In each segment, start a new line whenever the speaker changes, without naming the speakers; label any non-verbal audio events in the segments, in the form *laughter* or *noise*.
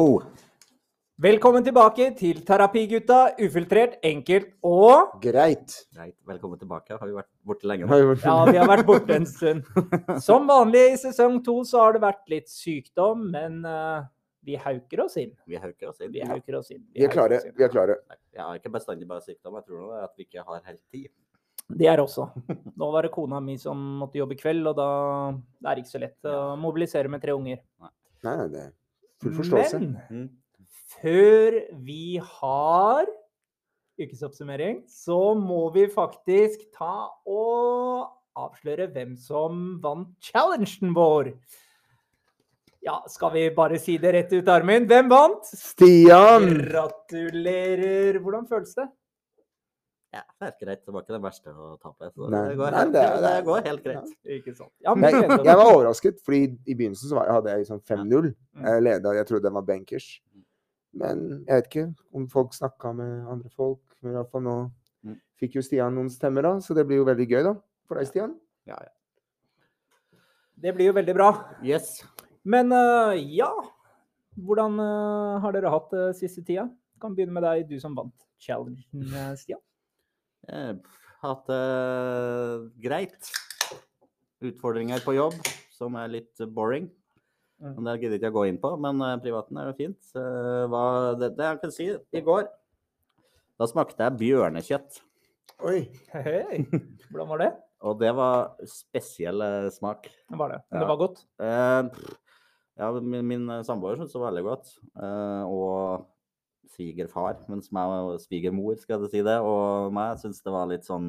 Oh.
Velkommen tilbake til Terapigutta, ufiltrert, enkelt og
Greit.
Greit, velkommen tilbake. Har vi vært borte lenge
Det
nå?
har jo vært
Ja, vi har vært borte en
*laughs*
stund. Som vanlig i sesong to så har det vært litt sykdom, men eh, vi hauker oss inn.
Vi hauker oss inn.
Vi hauker oss inn.
Vi er
hauker
klare.
oss inn.
Vi er klare.
Nei, Jeg har ikke bestandig bare sykdom. Jeg tror nå det er at vi ikke har helt tid.
Det er
*laughs*
også. Nå var det kona mi som måtte jobbe i kveld, og da det er ikke så lett å mobilisere med tre unger.
Nei, nei, det er full forståelse.
Men før vi har ukesoppsummering, så må vi faktisk ta og avsløre hvem som vant challengen vår. Ja, skal vi bare si det rett ut, Armin? Hvem vant?
Stian!
Gratulerer! Hvordan føles det?
Ja, det er greit. Det var ikke det verste å tape. Så
Nei.
det, går
Nei,
helt,
det
det,
er-
går helt greit.
Ikke sant? Ja, men
Jeg,
gleder oss.
jeg var overrasket, fordi i begynnelsen så var, hadde jeg liksom 5-0.
Mm.
Jeg leda, jeg trodde den var bankers. Men jeg vet ikke om folk snakka med andre folk. Men i hvert fall nå
Mm.
fikk jo Stian noen stemmer, da. Så det blir jo veldig gøy, da. For deg, Stian.
Det blir jo veldig bra.
Yes.
Men øh, ja, hvordan øh, har dere hatt det siste tida? Kan begynne med deg, du som vant challengen, øh, Stian.
Eh, Hatt det greit. Utfordringer på jobb som er litt boring.
Mm.
Men det gidder ikke jeg gå inn på, men eh, privaten er jo fint. Eh, Hva, det, det jeg kan si i går Da smakte jeg bjørnekjøtt.
Oi.
Hei, hvordan var det?
Og det var spesiell eh, smak.
Det var det. Men
Ja.
Det var godt.
Eh, pff, ja, min, min eh, samboer syntes det var veldig godt. Eh, og svigerfar, mens meg og svigermor, skal jeg si det, og meg syntes det var litt sånn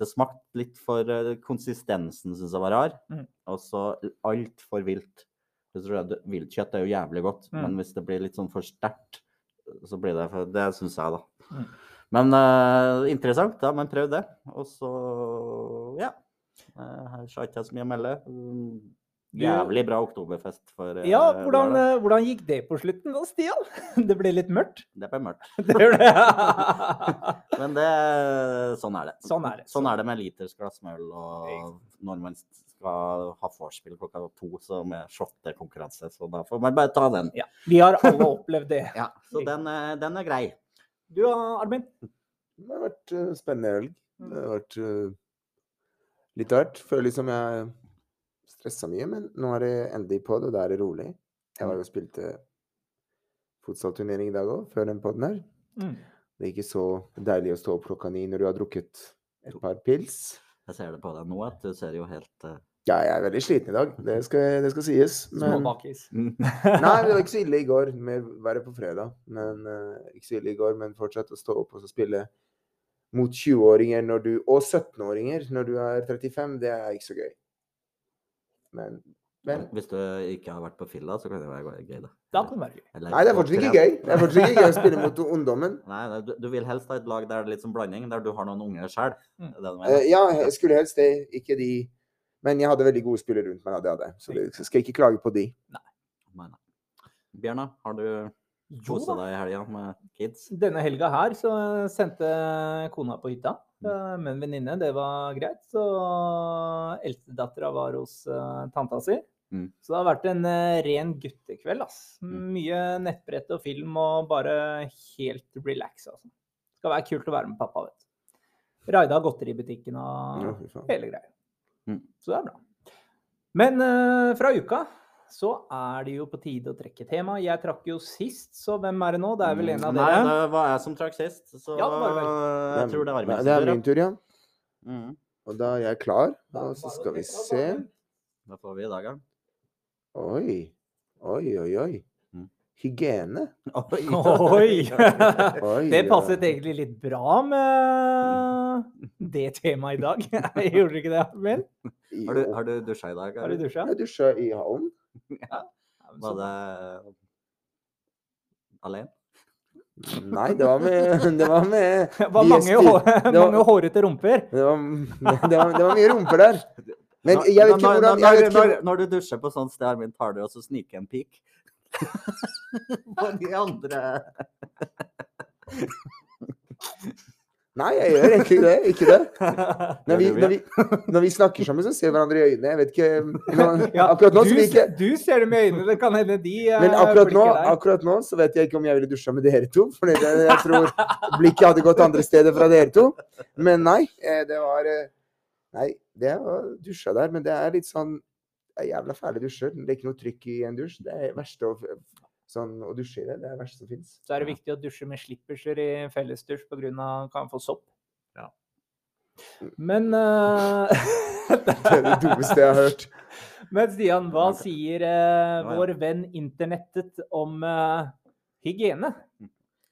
Det smakte litt for eh, Konsistensen syntes jeg var rar.
Mhm.
Og så altfor vilt. Jeg tror det- Viltkjøtt er jo jævlig godt,
Mhm.
men hvis det blir litt sånn for sterkt, så blir det for Det syns jeg, da.
Mhm.
Men eh, interessant, da. Men prøv det. Og så, ja. Eh, Her har ikke jeg så mye å melde. Mm,
Du-
Jævlig bra oktoberfest for eh,
Ja, hvordan,
lørdag.
øh, hvordan gikk det på slutten da, Stian? *laughs* Det ble litt mørkt.
Det ble mørkt.
Det ble...
Men det, sånn er det.
Sånn er det.
Sånn er det med liters glass med øl og når man skal ha vorspiel klokka to, så med shottekonkurranse. Så da får man bare ta den.
Ja, vi har alle opplevd det.
Ja, så den, eh, den er grei.
Du da, Armin?
Det har vært eh, spennende helg.
Mm.
Det har vært eh, litt av hvert. Føler liksom jeg stressa mye, men nå er det endelig på det. Da er det rolig. Jeg var jo og spilte fotballturnering i dag òg, før den podden her.
Mm.
Det er ikke så deilig å stå opp klokka ni når du har drukket et par pils.
Jeg ser det på deg nå, at du ser jo helt eh,
Ja, jeg er veldig sliten i dag. Det skal, det skal sies. Men
Småbakis.
eh,
Nei, det var ikke så ille i går. Mer verre på fredag. Men eh, ikke så ille i går, men fortsatt å stå opp og så spille mot 20-åringer når du Og 17-åringer når du er 35, det er ikke så gøy. Men, men
*laughs* Hvis du ikke har vært på fylla, så kan det være gøy, da.
Da kan det være gøy.
Eller
Nei, det er fortsatt ikke
opptren-
gøy. Det er fortsatt ikke gøy å spille mot ungdommen.
Nei, nei, du, du vil helst ha et lag der det er litt sånn blanding, der du har noen unge sjøl.
Mm.
Eh, ja, jeg skulle helst det. Ikke de Men jeg hadde veldig gode spillere rundt meg, da, det hadde jeg. Så det- så skal jeg ikke klage på de.
Bjørn, da? Har du
Jo
kosa
da.
deg i helga med kids?
Denne helga her så sendte kona på hytta
Mm.
eh, med en venninne. Det var greit. Så eldstedattera var hos eh, tanta si.
Mm.
Så det har vært en eh, ren guttekveld. ass.
Mm.
Mye nettbrett og film og bare helt relax. Altså. Skal være kult å være med pappa, vet du. Raida godteributikken og
Ja, fy faen.
hele greia.
Mm.
Så det er bra. Men eh, fra uka så er det jo på tide å trekke tema. Jeg trakk jo sist, så hvem er det nå? Det er vel en av
Mm. Nei,
dere?
det var jeg som trakk sist, så
Ja, det var vel.
jeg tror det er
Nei,
Armin
det
sin
er min
tur.
tur, ja.
ja. Mm.
Og da er jeg klar.
Da er
Og
det
så
bare å
skal vi
trekke av
se.
dagen.
Hva får vi i dag, da?
Oi. Oi, oi, oi.
Mm.
Hygiene.
*laughs*
*laughs*
Oi! *laughs*
Oi,
Det
oi,
passet
oi.
egentlig litt bra med *laughs* det temaet i dag. *laughs* Gjorde det ikke det, Armin?
Har du,
Jo.
har du dusja i dag?
Har du
eller?
dusja?
Jeg dusja i hallen.
Var det alene?
Nei, det var med *laughs* Det var med
*laughs* Det var
vi
mange,
gjester.
hår, *laughs*
Det var-
mange hårete
*laughs*
rumper.
Det var, det var, det var mye rumper der. Men
Når-
jeg vet ikke
når-
hvordan
når,
jeg vet ikke,
når, når du dusjer på sånt sted, Armin, tar du også sniker en pik?
*laughs*
på de andre
Nei, jeg gjør egentlig det. Ikke
*laughs*
det. Når vi,
Gjør du
når vi, når vi snakker sammen, så ser vi hverandre i øynene. Jeg
*laughs*
vet ikke men,
Ja,
Akkurat nå
du,
så vil ikke
se- du ser det med øynene, det kan hende de eh,
men akkurat nå,
blikker deg.
akkurat nå så vet jeg ikke om jeg ville dusja med dere to. For jeg, jeg tror blikket hadde gått andre steder fra dere to. Men nei, eh, det var eh, Nei, det var dusja der, men det er litt sånn det er jævla fæle dusjer. Det er ikke noe trykk i en dusj. Det er det verste å, sånn, å dusje i det. Det er det verste som fins.
Så er det viktig å dusje med slipperser i fellesdusj pga. kan få sopp. Men eh, *laughs*
Det er det dummeste jeg har hørt.
Men Stian, hva
Ok.
sier eh,
Ja, ja.
vår venn internettet om eh, hygiene?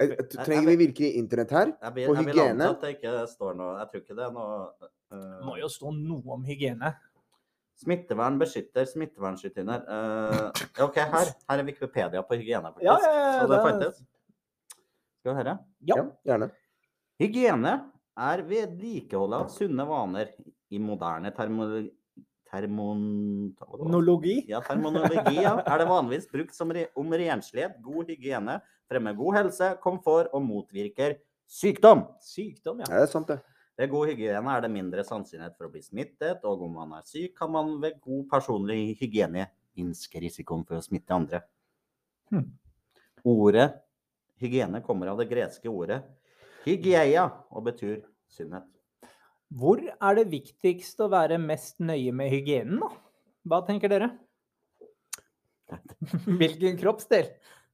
Jeg- jeg- Eh, Trenger vi virkelig internett her?
Jeg vil,
På
jeg vil anta
hygiene?
at det ikke står noe Jeg tror ikke det er noe eh,
Det må jo stå noe om hygiene.
Smittevern beskytter smittevernskytinder. Eh, ja, OK, her, her er Wikipedia på hygiene, faktisk.
Ja, ja, ja,
Så det
det er-
fantes. Skal vi høre?
Ja.
Ja, gjerne.
Hygiene er vedlikeholdet av sunne vaner i moderne termo... termon...
Nologi.
Ja, terminologi ja, er det vanligvis brukt som re om renslighet, god hygiene, fremmer god helse, komfort og motvirker sykdom.
Sykdom, ja.
Ja, det er sant, det.
Ved god hygiene er det mindre sannsynlighet for å bli smittet, og om man er syk, kan man ved god personlig hygiene minske risikoen for å smitte andre.
Hmm.
Ordet hygiene kommer av det greske ordet hygieia, og betyr sunnhet.
Hvor er det viktigst å være mest nøye med hygienen, da? Hva tenker dere? Hvilken kroppsdel?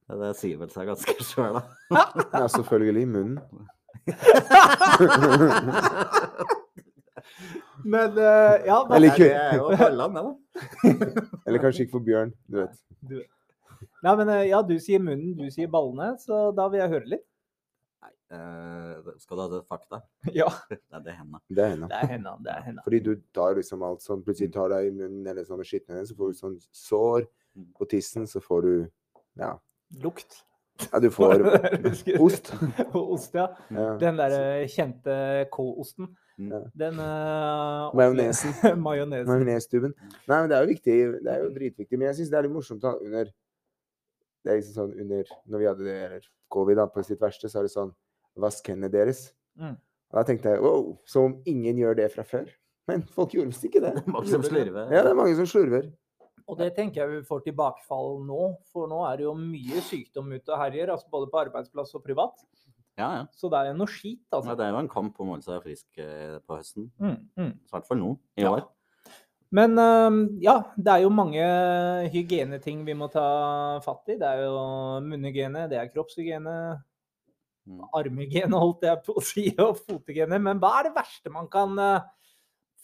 Ja, Det sier vel seg ganske *laughs* sjøl, da.
Ja, selvfølgelig. Munnen.
Men eh, ja, hva-
Eller- ikke.
Det er jo Halland, det, da.
*laughs* Eller kanskje ikke for bjørn. Du vet.
Nei, men, eh, ja, du sier munnen, du sier ballene, så da vil jeg høre litt.
Eh, skal du ha det fakta?
*laughs* Ja,
Nei, det er
*laughs*
henne.
Det er henne.
det er henne. Det er henne.
Fordi du tar liksom alt sånn,
Mm.
plutselig tar deg i munnen eller sånn og skitten hennes, så får du sånn sår på tissen, så får du ja,
Lukt.
ja du
*laughs*
får ost.
Ost, ja.
Ja.
Den der eh, kjente K-osten.
Mm.
Ja.
Den eh,
*laughs* Majonesen.
*laughs* Majonesen.
Majonesstuben.
Mm.
Nei, men det er jo viktig. Det er jo dritviktig. Men jeg syns det er litt morsomt da, under Det er liksom sånn under Når vi hadde det, eller covid da, på sitt verste, så er det sånn Vask hendene deres.
Mm.
Og da tenkte jeg wow, som om ingen gjør det fra før. Men folk gjorde visst ikke det.
*laughs*
Mange som slurver.
Ja, det er mange som slurver.
Og det tenker jeg vi får tilbakefall nå, for nå er det jo mye sykdom ute og herjer. Altså både på arbeidsplass og privat.
Ja, ja.
Så det er jo noe skit,
Ja,
altså.
det er jo en kamp om å holde seg frisk eh, på høsten.
Mm, mm.
I hvert fall nå, i
Ja.
år.
Men øhm, ja, det er jo mange hygieneting vi må ta fatt i. Det er jo munnhygiene, det er kroppshygiene,
Mm.
armhygiene holdt jeg på å si, og fothygiene. Men hva er det verste man kan øh,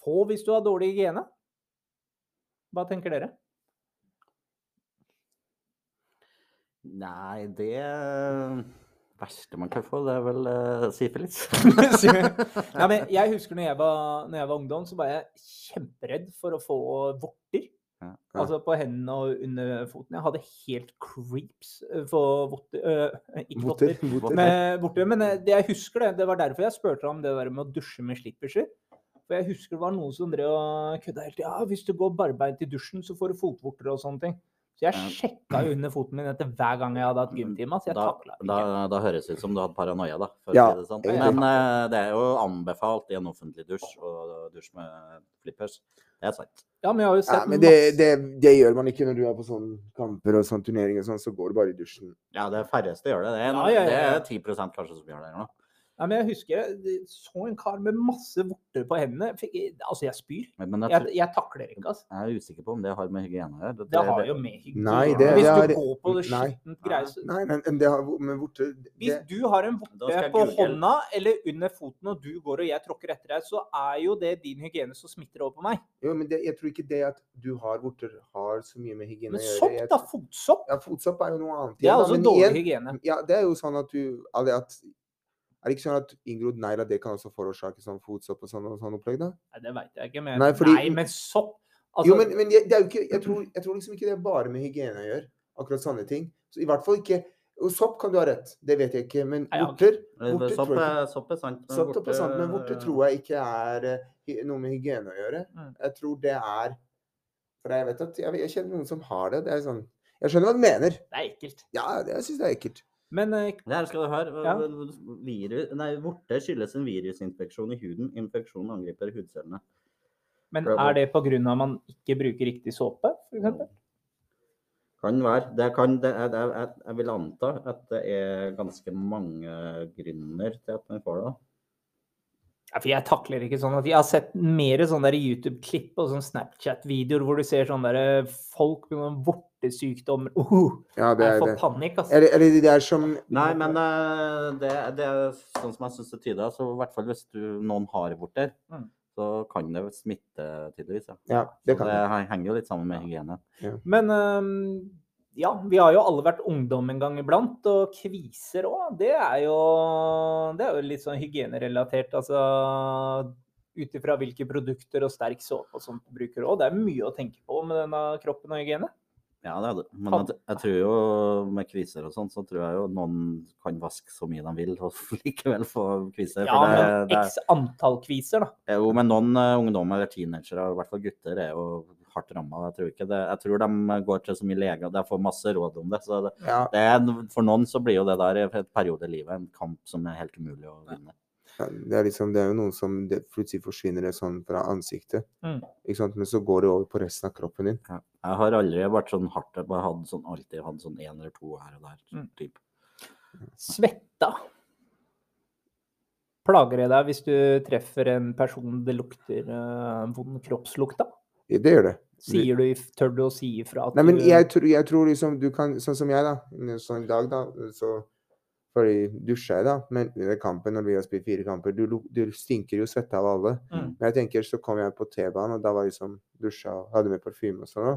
få hvis du har dårlig hygiene? Hva tenker
*laughs*
dere?
Nei, det eh, verste man kan få, det er vel eh, syfilis.
Nei, men jeg husker når jeg var, når jeg var ungdom, så var jeg kjemperedd for å få vorter.
Ja.
Altså på hendene og under foten. Jeg hadde helt creeps øh, for vorter øh, Ikke vorter.
Votter. votter.
med borte. Men eh, det jeg husker det, det var derfor jeg spurte om det der med å dusje med slipperser. For jeg husker det var noen som drev og kødda helt. Ja, hvis du går barbeint i dusjen, så får du fotvorter og sånne ting. Så jeg
Ja.
sjekka jo under foten min etter hver gang jeg hadde hatt gymtime. Så jeg
Da,
takla det
da,
ikke.
*laughs* da høres det ut som du hadde paranoia, da. For
Ja,
å si det sånn.
egentlig.
Men eh, det er jo anbefalt i en offentlig dusj å dusje med flippers. Det er sant.
Ja, men jeg har jo
Ja,
sett
men det,
masse
det, det gjør man ikke når du er på sånne kamper og sånne turneringer og sånn, så går du bare i dusjen.
Ja, det færreste gjør det. Det er,
Ja, ja, ja, ja.
det er 10 kanskje som gjør det. eller noe.
ja, men Jeg husker jeg de- så en kar med masse vorter på hendene. Fikk, altså, jeg spyr.
Men- Men jeg,
Jeg,
tror-
jeg takler ikke, altså.
jeg er usikker på om det har med hygiene å gjøre. Det-
Det
det-
har
det-
jo med hygiene
Nei,
å
det-
gjøre.
det har-
Hvis du går på det
nei.
skittent greie, så
Nei, men men det har men vorter det,
Hvis du har en
Da skal
vorte
jeg
på
google.
hånda eller under foten, og du går og jeg tråkker etter deg, så er jo det din hygiene som smitter over på meg.
jo, men det, Jeg tror ikke det at du har vorter, har så mye med hygiene
Men
å gjøre.
sopp,
Jeg-
da. Fotsopp.
Ja, fotsopp er jo noe annet.
Det
igjen,
er
da,
også
men
dårlig
igjen-
hygiene.
Ja, det er jo sånn at du Er det, at, er det ikke sånn at inngrodd negler det kan også forårsake sånn fotsopp og sånn, og sånn opplegg, da?
Nei, det veit jeg ikke, men
Nei,
Nei,
fordi-
men sopp altså,
jo, men, men det det er jo ikke, jeg, tror, jeg tror liksom ikke det er bare med hygiene å gjøre, akkurat sånne ting. Så I hvert fall ikke og Sopp kan du ha rett, det vet jeg ikke, men
Nei, ja.
vorter
det-
Vorter
Sopp
tror jeg
er- sopp er eh, sant. men
Sopp og
vorte-
sant, men vorter tror jeg ikke er eh, hy- noe med hygiene å gjøre.
Mm.
Jeg tror det er For jeg vet at jeg, jeg kjenner noen som har det. det er sånn, jeg skjønner hva du mener.
Det er ekkelt.
Ja, det syns jeg er ekkelt.
Men eh,
Det her skal du høre.
Ja.
Virus, nei, vorter skyldes en virusinfeksjon i huden. Infeksjonen angriper hudcellene.
Men
Prøv å-
er det pga. at man ikke bruker riktig såpe, f.eks.?
Kan være. Det kan, det, jeg, jeg, jeg- jeg vil anta at det er ganske mange grunner til at man får det.
Ja, for jeg takler ikke sånn at jeg har sett mer sånne der YouTube-klipp og sånn Snapchat-videoer hvor du ser sånne der eh, folk med noen vortesykdommer uh,
Ja, det
Jeg
er
får
det.
panikk, ass.
Eller, eller de der som
Nei, men eh, det, det er sånn som jeg syns det tyder. Så i hvert fall hvis du, noen har vorter,
Mm.
så kan det smitte tydeligvis. Ja.
Ja, det kan
det
jeg.
henger jo litt sammen med hygiene.
Men øhm, ja, vi har jo alle vært ungdom en gang iblant, og kviser òg. Det, er jo- det er jo litt sånn hygienerelatert. Altså ut ifra hvilke produkter og sterk såpe og sånt du bruker òg. Det er mye å tenke på med denne kroppen og hygiene.
Ja, det er det. Men jeg, jeg tror jo med kviser og sånn, så tror jeg jo noen kan vaske så mye de vil og *laughs* likevel få kviser. for
Ja,
det-
men
det er-
x antall kviser, da.
Jo, men noen eh, ungdommer eller teenagere, og i hvert fall gutter, er jo hardt ramma. Jeg tror ikke det. Jeg tror de eh, går til så mye lege, og de får masse råd om det. Så det,
Ja,
det er, for noen så blir jo det der i en periode i livet en kamp som er helt umulig å vinne.
det er liksom, det er jo noen som det plutselig forsvinner det sånn fra ansiktet.
Mm.
Ikke sant? Men så går det over på resten av kroppen din.
Ja. Jeg har aldri vært sånn hardt jeg bare hadde sånn, alltid hatt sånn én eller to her og der.
Mm.
Typ.
Svetta. Plager det deg hvis du treffer en person det lukter øh, vond kroppslukt av?
Det gjør det.
Sier du, if- tør du å si ifra at
Nei, men
du eh,
jeg tror, jeg tror liksom du kan Sånn som jeg, da. Sånn i dag, da. Så fordi dusja jeg, da. Men under kampen, når vi har spilt fire kamper, du, luk- du stinker jo svette av alle.
Mm.
Men jeg tenker, så kom jeg på T-banen, og da var jeg liksom dusja og hadde med parfyme og sånn. da.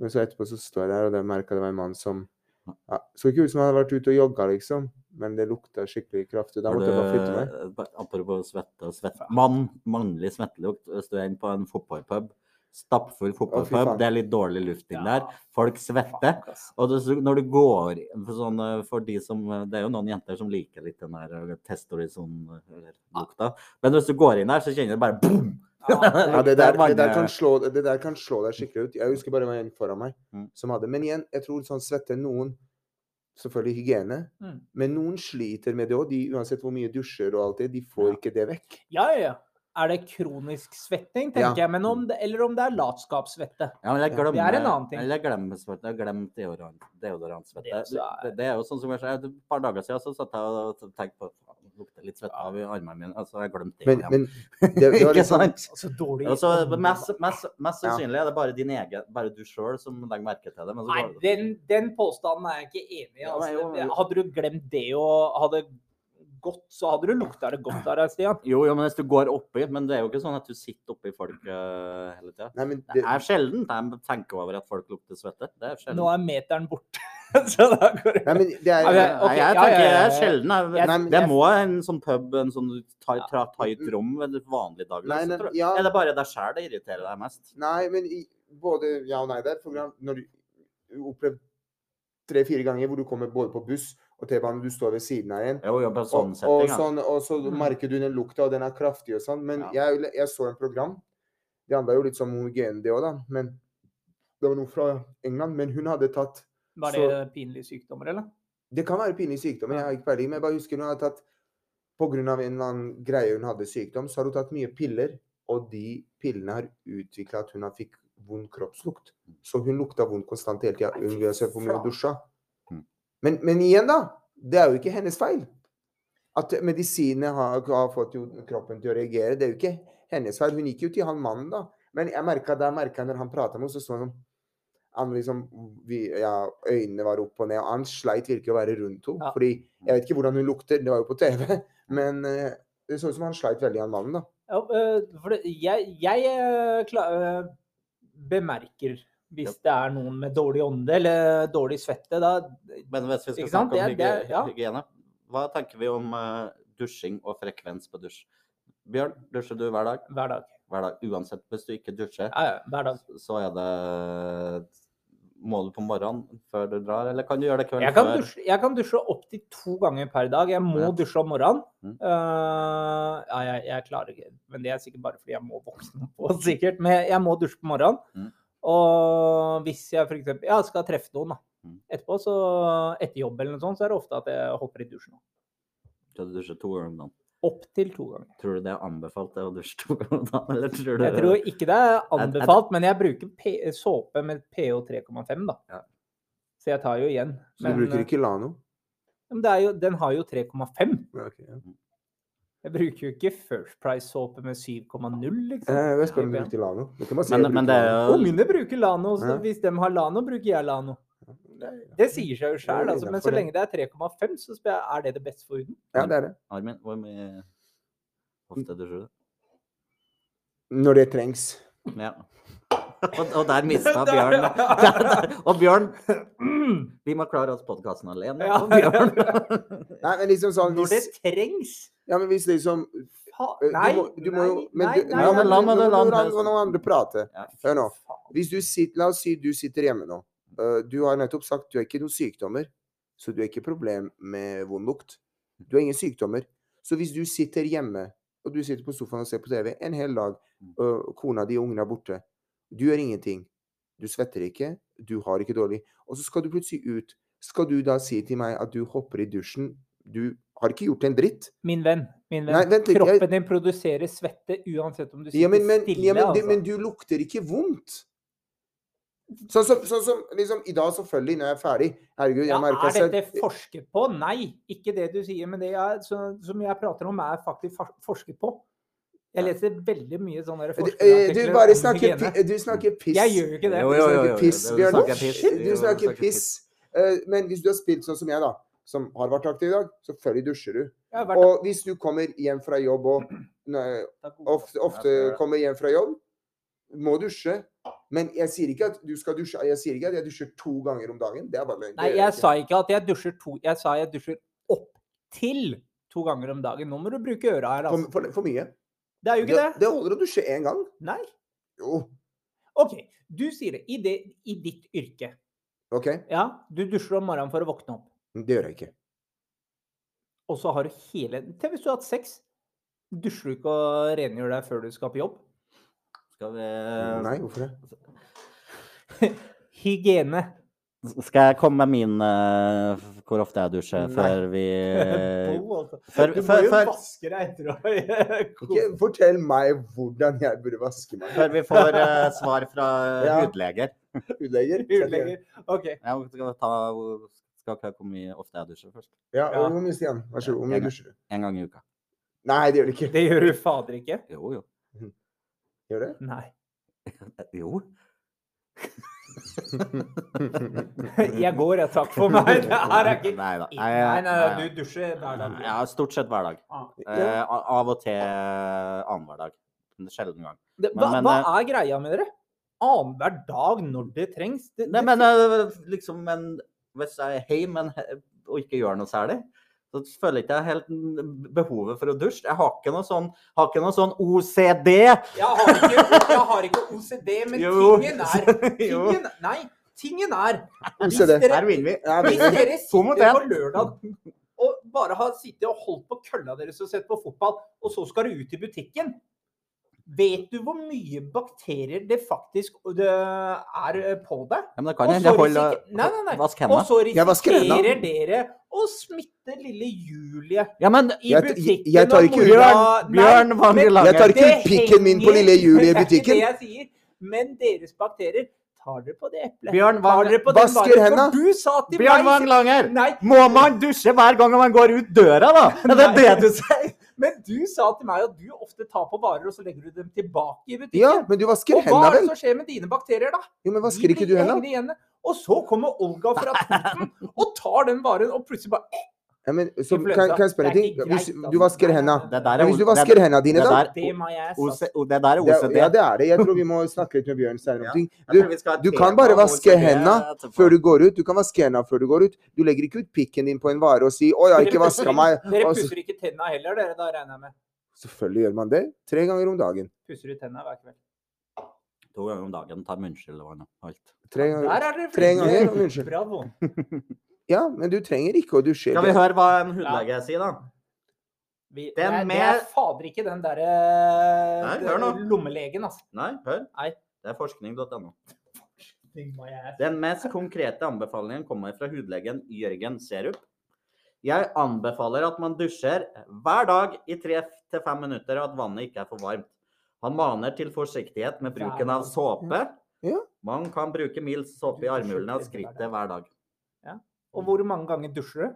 Men så etterpå så står jeg der, og da merka det var en mann som ja, Så ikke ut som han hadde vært ute og jogga, liksom. Men det lukta skikkelig kraftig. Da
Har
måtte jeg bare flytte meg.
du- eh, Apropos svette og svette Mann, mannlig svettelukt. Hvis du er inne på en fotballpub, stappfull fotballpub,
faen.
det er litt dårlig luft inn
Ja.
der. Folk svetter.
Fuck, ass.
Og det, så- når du går i- for, sånn, eh, for de som eh, Det er jo noen jenter som liker litt den der eh,
Ah.
testorisonlukta. Men hvis du går inn der, så kjenner du bare boom! *laughs*
Ja, det
Det er
der, det, der
mange-
kan slå, det der kan slå deg skikkelig ut. Jeg husker bare det var en foran meg
Mm.
som hadde Men igjen, jeg tror sånn svette noen Selvfølgelig hygiene,
Mm.
men noen sliter med det òg. Uansett hvor mye dusjer og alt det, de får ikke det vekk.
Ja, ja, ja. Er det kronisk svetting, tenker jeg, men om det, eller om det er latskapssvette?
Ja, men jeg
Ja,
glemmer,
det er en annen ting.
Eller jeg glemmer svette. Jeg glemte deodorant-
Det
deodorantsvette.
også er-
Det, det er jo sånn som jeg sa. Et par dager siden så satt jeg og tenkte på "Faen, det lukter litt svette av i armene mine. Altså, jeg glemte det.
Men,
*laughs* igjen.
men det, det var
Ikke
liksom
sant?
Altså dårlig
Og så mest, mest, mest
Ja.
sannsynlig er det bare din egen, bare du sjøl som legger merke til det. Men så
Nei,
går det-
den, den påstanden er jeg ikke enig i.
Ja,
Altså,
men jo, jo.
hadde du glemt det og hadde gått, så hadde du lukta det godt av deg, Stian.
Jo, jo, men hvis du går oppi Men det er jo ikke sånn at du sitter oppi folk eh, hele tida.
Nei, men
Det
det,
er sjelden jeg tenker over at folk lukter svette. Det er sjelden.
Nå er meteren borte, *laughs* så da går det
nei, men det er
Ja,
Nei,
men- ok,
Altså, jeg
ja, ja,
tenker
ja,
det
ja.
er sjelden. Jeg,
Nei, men
det
jeg-
må en sånn pub, en sånn tight, tra, tight rom en vanlig dag.
Nei,
så
nei,
tror jeg-
ja.
Er det bare deg sjæl det irriterer deg mest?
Nei, men i, både ja og nei der. For eksempel når du opplever tre-fire ganger hvor du kommer både på buss og T-bane, du står ved siden av en.
Jo, jo, på en
Og,
sånn
og,
setting. ja.
sånn, og så
Mm.
merker du den lukta, og den er kraftig og sånn. Men jeg, jeg så en program. Det handla jo litt om hygiene, det òg, da. Men det var noe fra England. Men hun hadde tatt
Var det pinlige sykdommer, eller?
Det kan være pinlige sykdommer, jeg har ikke peiling, men jeg bare husker hun hadde tatt Pga. en eller annen greie hun hadde sykdom, så har hun tatt mye piller, og de pillene har utvikla at hun har fikk vond kroppslukt. Så hun lukta vondt konstant hele tida,
Mm. Nei, fy
uansett hvor mye hun
faen.
dusja.
Mm.
Men, men igjen, da. Det er jo ikke hennes feil. At medisinene har, har fått jo kroppen til å reagere, det er jo ikke hennes feil. Hun gikk jo til han mannen, da. Men jeg merka der merket jeg når han prata med henne, så så han sånn han liksom, vi, ja, Øynene var opp og ned, og han sleit virkelig å være rundt henne.
Ja.
fordi jeg vet ikke hvordan hun lukter, det var jo på TV, men eh, det så ut som han sleit veldig, han mannen. da.
Ja, øh, for det, jeg jeg øh, kla- øh, bemerker hvis det er noen med dårlig ånde eller dårlig svette, da
Men hvis vi skal
Ikke sant?
snakke om
Det- det-
hygge-
ja.
hygiene, hva tenker vi om eh, dusjing og frekvens på dusj? Bjørn, dusjer du hver dag?
hver dag.
Hver dag. Uansett, hvis du ikke dusjer,
Ja, ja, hver dag.
så er det Må du på morgenen før du drar, eller kan du gjøre det kvelden
Jeg kan,
før?
dusje, jeg kan dusje opptil to ganger per dag. Jeg må
Ja.
dusje om morgenen.
Mm.
Eh, ja, jeg, jeg klarer ikke Men det er sikkert bare fordi jeg må våkne på, *laughs* sikkert. Men jeg, jeg må dusje på morgenen.
Mm.
Og hvis jeg f.eks. Ja, skal treffe noen, da.
Mm.
Etterpå, så etter jobb eller noe sånt, så er det ofte at jeg hopper i dusjen.
Skal du dusje to ganger om dagen?
Opptil to ganger.
Tror du det er anbefalt det å dusje to ganger om dagen, eller tror du
Jeg tror ikke det er anbefalt, men jeg bruker P såpe med pH 3,5,
Ja.
da. Så jeg tar jo igjen.
Så du bruker
eh,
ikke Lano?
men det er jo, den har jo 3,5.
Ja, ok, ja.
Jeg bruker jo ikke First Price-såpe med 7,0, liksom.
Eh, Jeg spør om du
Ja.
brukte Lano. Du kan bare si
Men-
jeg
men
bruker
det er
Lano.
jo-
Ungene bruker Lano, så
Ja.
hvis de har Lano, bruker jeg Lano.
Nei, ja.
Det sier seg jo
Det
sjøl,
er
altså, men
innenfor
så
det.
lenge det er 3,5, så spør jeg er det det beste for huden.
Ja, det er det.
Armin, hvor mye ofte dusjer du?
Når det trengs.
Ja. Og, og der mista
*laughs*
Bjørn Og Bjørn, vi må klare oss podkasten alene.
Ja.
Og
*laughs*
Bjørn.
Nei, men liksom sånn
Når det
hvis,
trengs!
Ja, men hvis liksom
Fa-
Eh,
Nei,
du må, du må jo, men,
nei,
du-
nei,
ja,
nei,
men
la
nå-
meg-
nå- nå-
la meg-
nå- nå- noen andre prate.
Ja.
Hør nå.
faen.
Hvis du sitter, la oss si du sitter hjemme nå. Eh, Du har nettopp sagt du har ikke noen sykdommer, så du har ikke problem med vond lukt. Du har ingen sykdommer. Så hvis du sitter hjemme, og du sitter på sofaen og ser på TV en hel dag, og kona di og ungene er borte, du gjør ingenting. Du svetter ikke, du har ikke dårlig. Og så skal du plutselig ut. Skal du da si til meg at du hopper i dusjen? Du har ikke gjort en dritt.
Min venn, min venn.
Nei, vent litt, jeg-
Kroppen din produserer svette uansett om du sitter
Ja, men, men,
stille.
ja, men, det,
altså.
men du lukter ikke vondt. Sånn som, sånn som liksom, i dag, selvfølgelig, når jeg er ferdig Herregud, jeg Eh,
ja,
merker
er
selv-
dette forsket på? Nei, ikke det du sier. Men det jeg, så, som jeg prater om, er faktisk far- forsket på. Jeg leser veldig mye sånne der
Du- eh, Du
forskerartikler
bare
om
snakker,
hygiene.
pi- eh, du snakker piss.
Jeg gjør jo ikke det.
Jo,
Du
jo, jo,
snakker
jo, jo.
piss,
Du
Bjørn.
snakker piss.
Shit,
Jo,
Du snakker piss. Eh, Men hvis du har spilt sånn som jeg, da, som har vært aktiv i dag, selvfølgelig dusjer du.
Jeg har vært
Og hvis du kommer hjem fra jobb og *clears throat* nei, ofte, ofte kommer hjem fra jobb, må dusje. Men jeg sier ikke at du skal dusje. Jeg sier ikke at jeg dusjer to ganger om dagen. Det er bare løgn. Det
Nei,
gjør
jeg
ikke.
sa ikke at jeg dusjer to Jeg sa jeg dusjer opp til to ganger om dagen. Nå må du bruke øra her,
for,
altså.
for, for mye.
Det er jo ikke det.
Det holder å dusje én gang.
Nei.
Jo,
OK, du sier det. I, det, i ditt yrke.
OK.
Ja, du dusjer om morgenen for å våkne opp.
Det gjør jeg ikke.
Og så har du hele Tenk hvis du har hatt sex. Dusjer du ikke og rengjør deg før du skal på jobb?
Skal
Nei,
Eh,
vi
hvorfor
*laughs*
det?
Hygiene.
Skal jeg komme med min eh, hvor ofte jeg dusjer
Nei.
før
*laughs*
vi
Bo, altså.
Eh, før,
Du må
før,
jo
før,
vaske deg etter
*laughs*
å
Ikke fortell meg hvordan jeg burde vaske
*laughs*
meg.
før vi får eh, svar fra
Ja.
hudleger.
Hudlegger?
Hudlegger. OK.
Ja, skal vi ta hvor- skal ikke jeg hvor mye ofte jeg dusjer først?
Ja,
Ja.
og hvor mye, Stian? Vær så god. Hvor
Jeg-
mye dusjer du?
En gang i uka.
Nei, det gjør du ikke.
Det gjør du fader ikke.
Jo, jo.
Gjør det?
Nei.
*laughs* Jo.
Jeg går, jeg. Takk
*laughs*
for meg. Det her er ikke
Nei da.
Nei,
Jeg-
nei,
nei,
du dusjer hver dag.
Ja, stort sett hver dag.
Ah.
*laughs*
Eh,
Ja.
a- av og til annenhver dag. Men det er Sjelden gang.
Det,
Men-
hva,
men,
hva
eh,
er greia med dere? Annenhver dag når det trengs? Det,
Nei,
det-
men eh, liksom men, Hvis jeg er hjemme men he- og ikke gjør noe særlig, så føler jeg ikke jeg helt n- behovet for å dusje. Jeg har ikke noe sånn, har ikke noe sånn OCD.
jeg, har ikke, jeg har ikke OCD, men
*laughs* Jo.
tingen er
*laughs* Jo.
tingen, Nei, tingen er hvis
OCD.
dere,
Her vinner vi.
Ja,
hvis
men-
dere
To mot
sitter på
en.
lørdag og bare har sittet og holdt på kølla deres og sett på fotball, og så skal du ut i butikken Vet du hvor mye bakterier det faktisk det er på deg?
Ja, men det
Og
kan
så
hende jeg holder
risikerer- Nei, nei, nei.
Vask
Og
hendene.
så
Jeg vasker hendene.
risikerer dere å smitte lille Julie
Ja, men
i
Jeg-
butikken.
jeg tar
og
ikke
mora-
Bjørn, Bjørn
Nei, men-
Vangelager.
Jeg tar ikke ut
Det
pikken min på
henger-
lille Julie i
*laughs* Det er ikke
butikken.
det jeg sier. Men deres bakterier tar dere på det eplet.
Bjørn
tar
Vang-
dere på den
Vasker
varen, for
hendene.
Du sa til
Bjørn
meg
Vangelanger.
Nei,
Må man dusje hver gang man går ut døra, *laughs* da? Er det det
Nei.
du sier?
men du sa til meg at du ofte tar på varer, og så legger du dem tilbake i butikken.
Ja, men du vasker
og hva
hendene,
er det
vel?
som skjer med dine bakterier, da?
Jo, men
De
vasker ikke
blir
du hendene?
hengende igjen. Og så kommer Olga fra Toten og tar den varen, og plutselig bare
Ja, men, så,
Influensa.
kan, kan jeg spørre en
Det er
ting?
ikke
Hvis
greit,
du
altså.
vasker
Nei, nei,
hendene
nei.
Det der er
Men Hvis du
o- det
vasker
er-
hendene dine,
det
da?
der-
Det må jeg altså.
OC
sagt.
det der er
Det,
OCD.
ja, det er det. Jeg tror vi må snakke litt med Bjørn senere om
Ja.
ting.
Jeg
Du,
tror vi skal ha et
du kan
tema
bare
om
vaske
OCD
hendene
etterpå.
før du går ut. Du kan vaske hendene før du går ut. Du legger ikke ut pikken din på en vare og sier 'Å, jeg har ikke vaska meg'.
Dere
Og så,
pusser ikke tenna heller, dere, da regner jeg med.
selvfølgelig gjør man det. Tre ganger om dagen.
Pusser du tenna hver kveld?
To ganger om dagen tar munnskyld og alt.
Tre ganger.
Der er dere
Tre ganger,
flinke.
unnskyld.
Bravo.
Ja, men du trenger ikke å dusje.
Skal vi
eller-
høre hva en hudlege sier, da?
Vi, det,
Den
er, det
med-
er fader ikke den derre
Nei, hør nå.
lommelegen, altså.
Nei, hør.
Nei.
Det er forskning.no.
Something my ass.
Den mest konkrete anbefalingen kommer fra hudlegen Jørgen Serup. Jeg anbefaler at man dusjer hver dag i tre til fem minutter, og at vannet ikke er for varmt. Han maner til forsiktighet med bruken av såpe.
Ja.
Man kan bruke mild såpe i armhulene og skrittet hver dag.
Mm.
Og hvor mange ganger dusjer du?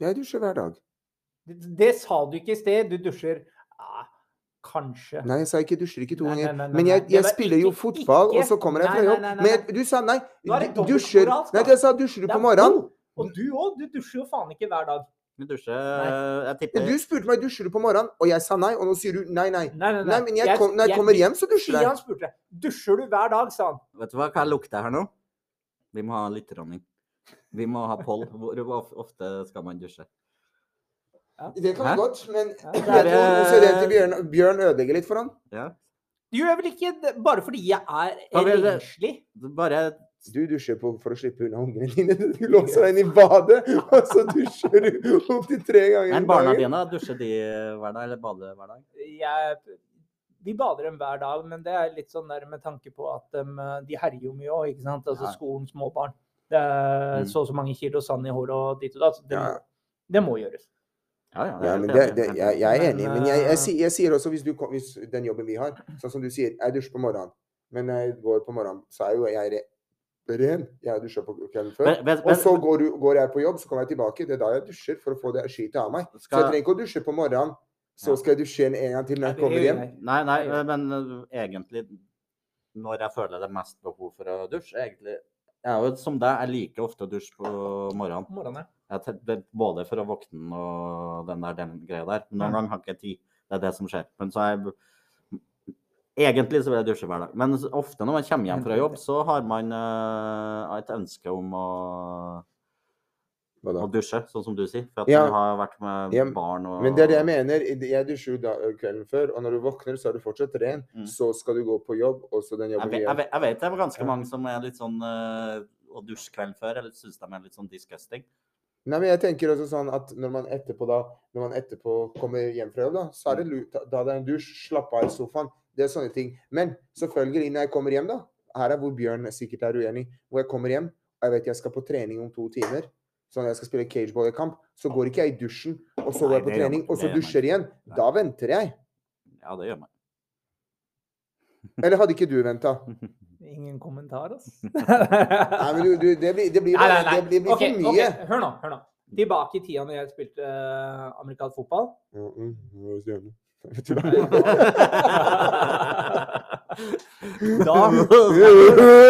Jeg dusjer hver dag.
Det, det sa du ikke i sted. Du dusjer ah, kanskje.
Nei, jeg sa ikke dusjer ikke to
Nei, nei,
ganger.
nei, nei,
Men jeg,
nei. Det
jeg
var
spiller jo
ikke-
fotball, og
ikke-
så kommer jeg
Nei,
fra
nei,
jobb.
nei, nei,
Men
nei.
jeg, du sa nei,
Nå er det
du-
dobbelt
dusjer
moralsk,
Nei,
da.
jeg sa dusjer du
Det er
på morgenen?
to. Og du òg. Du dusjer jo faen ikke hver dag.
Vi dusjer Jeg
Ja,
tipper
Du spurte meg dusjer du på morgenen, og jeg sa nei, og nå sier du nei, nei.
Nei, nei, nei.
Nei, men jeg kom, når jeg kommer hjem, så dusjer jeg.
Stian spurte dusjer du hver dag, sa han.
Vet du hva hva lukter her nå? Vi må ha lytterdronning. Vi må ha poll. Hvor of- ofte skal man dusje?
Det kan
Hæ?
vi godt, men
Ja,
jeg
det
tror
er-
også det til Bjørn, Bjørn ødelegger litt for han.
Ja.
Du gjør vel ikke det bare fordi jeg
Ja,
er
vel, det-
renslig?
Bare
Du dusjer på, for å slippe unna ungene dine. Du låser deg inn i badet, og så dusjer du opptil tre ganger
Men
om
barna
dagen.
dine, dusjer de hver dag, eller bader hver dag?
jeg, de bader dem hver dag, men det er litt sånn der med tanke på at dem, eh, de herjer jo mye òg, ikke sant. Altså
Ja.
skolen, småbarn. Det er
Mm.
så og så mange kilo sand i håret og dit og datt. Det,
Ja.
må- det må gjøres.
Ja, ja.
Ja, men
helt
det,
enig,
det,
helt
jeg,
enig.
jeg er
Men,
enig, men jeg, jeg,
eh,
si- jeg sier også hvis, du, kom- hvis den jobben vi har, sånn som du sier, jeg dusjer på morgenen, men når jeg går på morgenen, så er jo jeg re- ren. Jeg dusjer på kvelden før.
Men- men-
Og så går, du, går jeg på jobb, så kommer jeg tilbake. Det er da jeg dusjer, for å få det skitet av meg. Så jeg
Skal-
trenger ikke å dusje på morgenen,
Ja.
så skal jeg dusje en, en gang til når jeg kommer hjem.
Nei, nei,
Ja, ja.
men uh, egentlig når jeg føler det er mest behov for å dusje, egentlig Jeg er jo som deg, jeg liker ofte å dusje på morgenen.
Morgenen,
Jeg tar- det- både for å våkne og den der den greia der. Men noen
Mm.
ganger har jeg ikke tid. Det er det som skjer. Men så er jeg Egentlig så vil jeg dusje hver dag. Men s- ofte når man kommer hjem fra jobb, så har man uh, et ønske om å,
Hva
å
da?
dusje, sånn som du sier. For at
Ja.
du har vært med
Ja,
barn og
Men det er det jeg mener. Jeg dusjer jo da, kvelden før, og når du våkner, så er du fortsatt ren.
Mm.
Så skal du gå på jobb, og så den
Jeg
jobben
vet,
vi
jeg,
gjør.
vet, jeg vet det er ganske
Ja.
mange som er litt sånn eh, å dusje kvelden før, eller syns de er litt sånn disgusting.
Nei, men jeg tenker også sånn at når man etterpå da, når man etterpå kommer hjem fra jobb, da, så
Mm.
er det lurt. da- Da er det en dusj, slapp av i sofaen. Det er sånne ting. Men selvfølgelig, når jeg kommer hjem, da Her er hvor Bjørn sikkert er uenig. Hvor jeg kommer hjem, og jeg vet jeg skal på trening om to timer. Så når jeg skal spille cageballkamp, så går ikke jeg i dusjen, og så går
Nei,
jeg på
det gjør
trening,
man-
og
det
så
gjør man
dusjer igjen.
Nei.
Da venter jeg.
Ja, det gjør man.
Eller hadde ikke du venta?
Ingen kommentar, altså.
Nei,
*laughs*
men du, du, det blir, det blir,
Nei, nei,
bare-
nei.
det blir, det blir
Ok,
for mye.
ok, Hør nå. hør nå. Tilbake i tida når jeg spilte eh, amerikansk fotball.
Mm, mm, det var stjerne.
*laughs*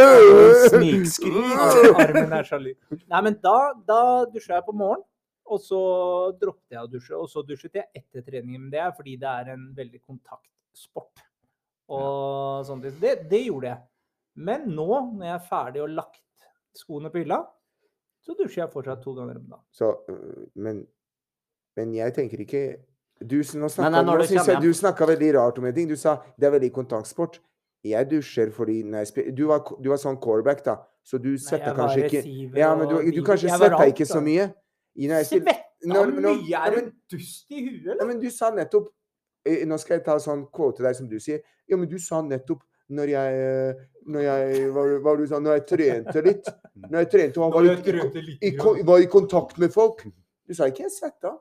Snikskryt!
Armen er sjalu. Nei, men da, da dusja jeg på morgenen. Og så droppet jeg å dusje, og så dusjet jeg etter treningen. Men det er fordi det er en veldig kontaktsport. Og sånne ting. Så Det, det gjorde jeg. Men nå, når jeg er ferdig og lagt skoene på hylla, så dusjer jeg fortsatt to ganger om dagen.
Så, øh, men, men jeg tenker ikke du, s- Nå, snakka,
nei, når
nå
du
synes
kommer
jeg du snakka veldig rart om en ting. Du sa det er veldig kontaktsport. Jeg dusjer fordi når jeg spiller, du, var, du var sånn quarterback, da, så du
Nei,
svetta
jeg var
kanskje ikke
receiver
Ja, men du,
og
du
wing-
kanskje
jeg var
svetta
alt,
ikke så
da.
mye. I når jeg spiller-
Svetta
når- når-
mye? Er
Ja,
du
men-
dust i huet,
Ja,
eller?
men du sa nettopp eh, Nå skal jeg ta sånn quote deg som du sier. Ja, men du sa nettopp når jeg eh, når jeg, hva, hva var det du sa, når jeg trente litt Når jeg trente og
Nå
var,
har jeg
i,
trønt det litt
*laughs*
i,
grann.
ko- var i kontakt med folk Du sa ikke 'jeg svetta'.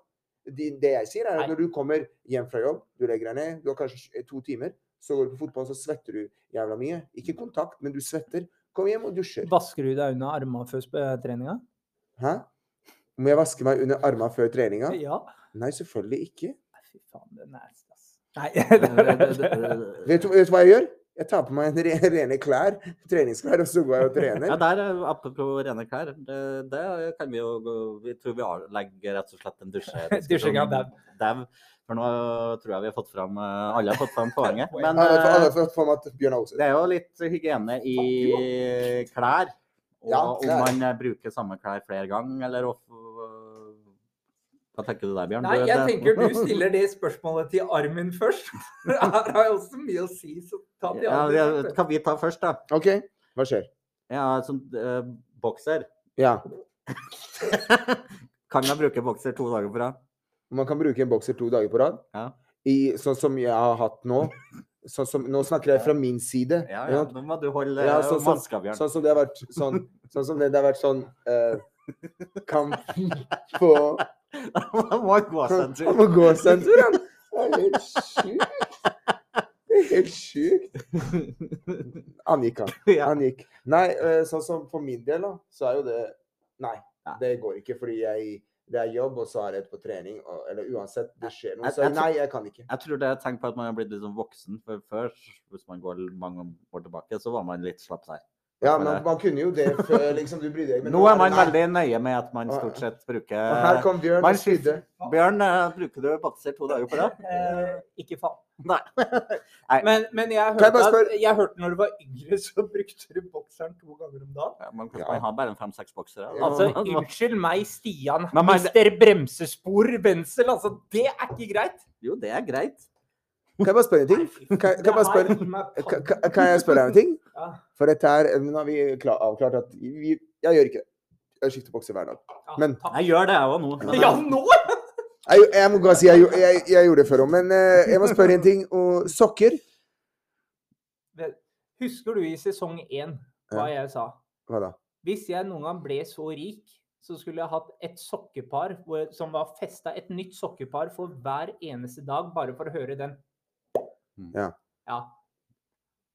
Det, det jeg sier, er
Nei.
at når du kommer hjem fra jobb, du legger deg ned, du har kanskje eh, to timer, så går du på fotball, så svetter du jævla mye. Ikke kontakt, men du svetter. Kom hjem og dusjer.
Vasker du deg unna armene eh, før sp- treninga?
Hæ? Må jeg vaske meg under armene før treninga?
Eh, Ja.
Nei, selvfølgelig ikke.
Fy faen, det er nasty, ass. Nei, *laughs* det er-
Vet du, vet du hva jeg gjør? Jeg tar på meg en re rene klær, treningsklær, og så går jeg og
Ja,
trener.
der, er- apropos rene klær, det, det kan vi jo gå- Vi tror vi har- legger rett og slett en dusje.
*laughs* Dusjing av dau.
Dau. For nå tror jeg vi har fått fram eh, Alle har fått fram poenget.
Jeg
Men
har
eh,
fått- fått for meg at Bjørn Aase
Det er jo litt hygiene i klær. Og
Ja,
om
klær.
man eh, bruker samme klær flere ganger, eller of- Hva tenker du der, Bjørn?
Nei,
Du- eh,
jeg
det-
tenker du stiller det spørsmålet til Armin først. *laughs* Her har jeg også mye å si, så ta de
ja,
andre.
det Kan vi ta først, da?
OK, hva skjer?
Ja, som eh, bokser. *laughs*
Ja,
kan jeg bruke bokser to dager på rad?
man kan bruke en bokser to dager på rad.
Ja.
I, sånn som jeg har hatt nå, sånn som, Nå snakker jeg fra min side.
Ja,
ikke
ja.
sant?
Nå må du holde eh,
Ja,
ja,
sånn som- Sånn som det har vært sånn, sånn, som det, det har vært sånn eh, Kamp på
Han *laughs* må gå seg en
Han
tur.
*laughs* må gå seg en tur, han. Det er helt sjukt. Det er helt sjukt. Han gikk,
*laughs*
han.
Ja.
Han gikk. Nei, eh, sånn som for min del, da, så er jo det Nei,
Nei.
det går ikke. Fordi jeg, det er jobb, og så er det på trening. Og, eller uansett, det skjer noe.
Jeg-
Så
jeg
jeg-
tror-
nei, jeg kan ikke.
Jeg tror det er et tegn på at man har blitt litt sånn voksen. For før, hvis man går mange år tilbake, så var man litt slapp seg.
Ja, men man kunne jo *laughs* det før, liksom. Du brydde deg men
Nå er man
nei.
veldig nøye med at man stort sett
Og her
bruker
kom Bjørn
man
og spydde.
Bjørn, eh, bruker du bakser to dager på rad?
Eh, ikke faen. *laughs*
Nei.
Men, men jeg,
jeg
hørte
bare
at,
spørre-
jeg hørte når du var yngre, *laughs* så brukte du bokseren to ganger om dagen.
Ja, Man,
Ja.
man har bare en fem-seks boksere.
Ja.
Altså,
Man- man-
unnskyld meg, Stian.
Men- men-
Mister bremsespor Bensel. Altså, det er ikke greit.
*laughs* Jo, det er greit.
Kan jeg bare spørre en ting? Kan, kan, jeg bare
Det her
spørre,
gir meg
kan,
panikk.
kan- kan jeg spørre deg en *laughs* ting?
Ja.
For dette her Nå har vi kla- avklart at vi, Jeg gjør ikke det. Jeg skifter bokser hver dag.
Ja,
Men-
takk.
Jeg gjør det, jeg òg nå. men-
Ja, nå!
Jeg, jeg må bare si jeg, gjo- jeg, jeg gjorde det før òg, men eh, jeg må spørre en ting. Og sokker
Husker du i sesong én hva jeg sa?
Hva da?
Hvis jeg noen gang ble så rik, så skulle jeg hatt et sokkepar hvor- som var festa, et nytt sokkepar for hver eneste dag, bare for å høre den.
Ja.
Ja.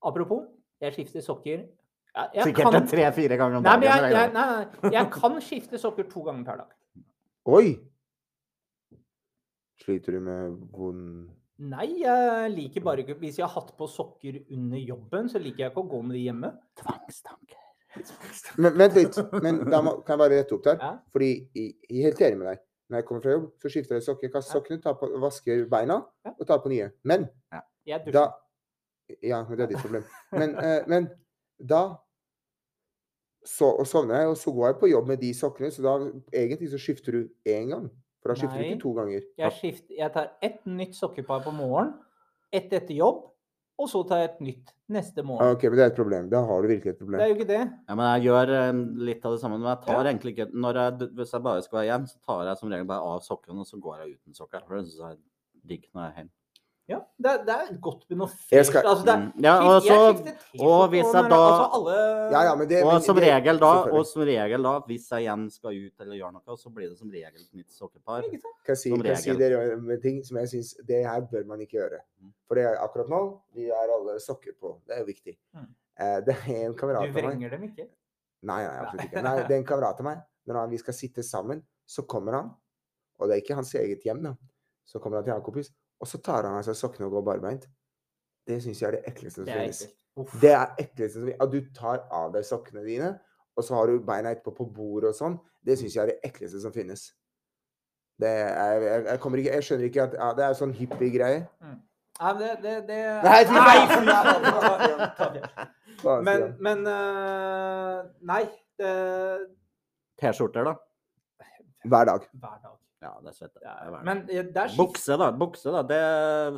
Apropos, jeg skifter sokker. Ja, jeg
Sikkert
kan...
en tre-fire ganger om
Nei,
dagen.
men jeg,
regner
jeg,
jeg med.
nei, nei, jeg kan skifte sokker to ganger per dag.
Oi! Sliter du med vond
Nei, jeg liker bare ikke Hvis jeg har hatt på sokker under jobben, så liker jeg ikke å gå med de hjemme.
Tvangstanke.
Men vent litt. Men da må, kan jeg bare rette opp der?
Ja.
Fordi jeg, jeg er helt enig med deg. Når jeg kommer fra jobb, så skifter jeg sokker. Jeg kaster sokkene, tar på, vasker beina
Ja.
og tar på nye. Men
Jeg dusjer.
da Ja, men det er ditt problem. Men, eh, men da så, og sovner jeg, og så går jeg på jobb med de sokkene, så da egentlig så skifter du én gang. For da skifter du
Nei.
ikke to ganger.
Jeg, skift, jeg tar ett nytt sokkepar på morgenen, ett etter jobb, og så tar jeg et nytt neste
Ah,
morgen.
ok, men det er et problem. Da har du virkelig et problem.
Det er jo ikke det.
Ja, men jeg gjør eh, litt av det samme. Men jeg tar egentlig ikke når jeg, Hvis jeg bare skal hjem, så tar jeg som regel bare av sokkene, og så går jeg uten sokker. For det syns jeg er digg når jeg er hjemme.
Ja, det, er- det er godt med noe
Jeg
fresht.
skal-
Altså, det er,
Mm. Ja, og
skift- jeg
så-
skifter T-skjorte
og hvis jeg
når-
da-
altså, alle,
Ja, ja, men det,
Og
men
som
det-
regel da, og
selvfølgelig.
som regel da, hvis jeg igjen skal ut eller gjøre noe, så blir det som regel et nytt sokkepar.
Ikke sant?
Kan jeg si,
som
kan jeg si
regel.
dere om en ting som jeg syns Det her bør man ikke gjøre.
Mm.
For det er akkurat nå vi har alle sokker på. Det er jo viktig.
Mm.
Eh, det er en kamerat
Du
av meg
vrenger dem ikke.
Nei, nei, absolutt ikke.
*laughs*
Nei, det er en kamerat av meg. Når han, vi skal sitte sammen, så kommer han. Og det er ikke hans eget hjem, da. Så kommer han til en annen kompis, og så tar han av seg sokkene og går barbeint. Det syns jeg er det ekleste som
Det er
finnes.
ekkelt. Uff.
Det er ekleste som At du tar av deg sokkene dine, og så har du beina etterpå på bordet og sånn, det syns jeg er det ekleste som finnes. Det er, jeg, jeg, kommer ikke, jeg skjønner ikke at ja, Det er sånn hippie-greie.
Nei, det, det, det...
Nei, fy faen!
Nei, fy faen! Ta det.
Faen, sier
Men,
han.
men eh, Nei. Det,
T-skjorter, da.
Hver dag.
hver dag.
Ja, det er svett.
Det
Det er
er,
verdt det.
men eh, det er skift-
Bukse, da. Bukse, da. Det,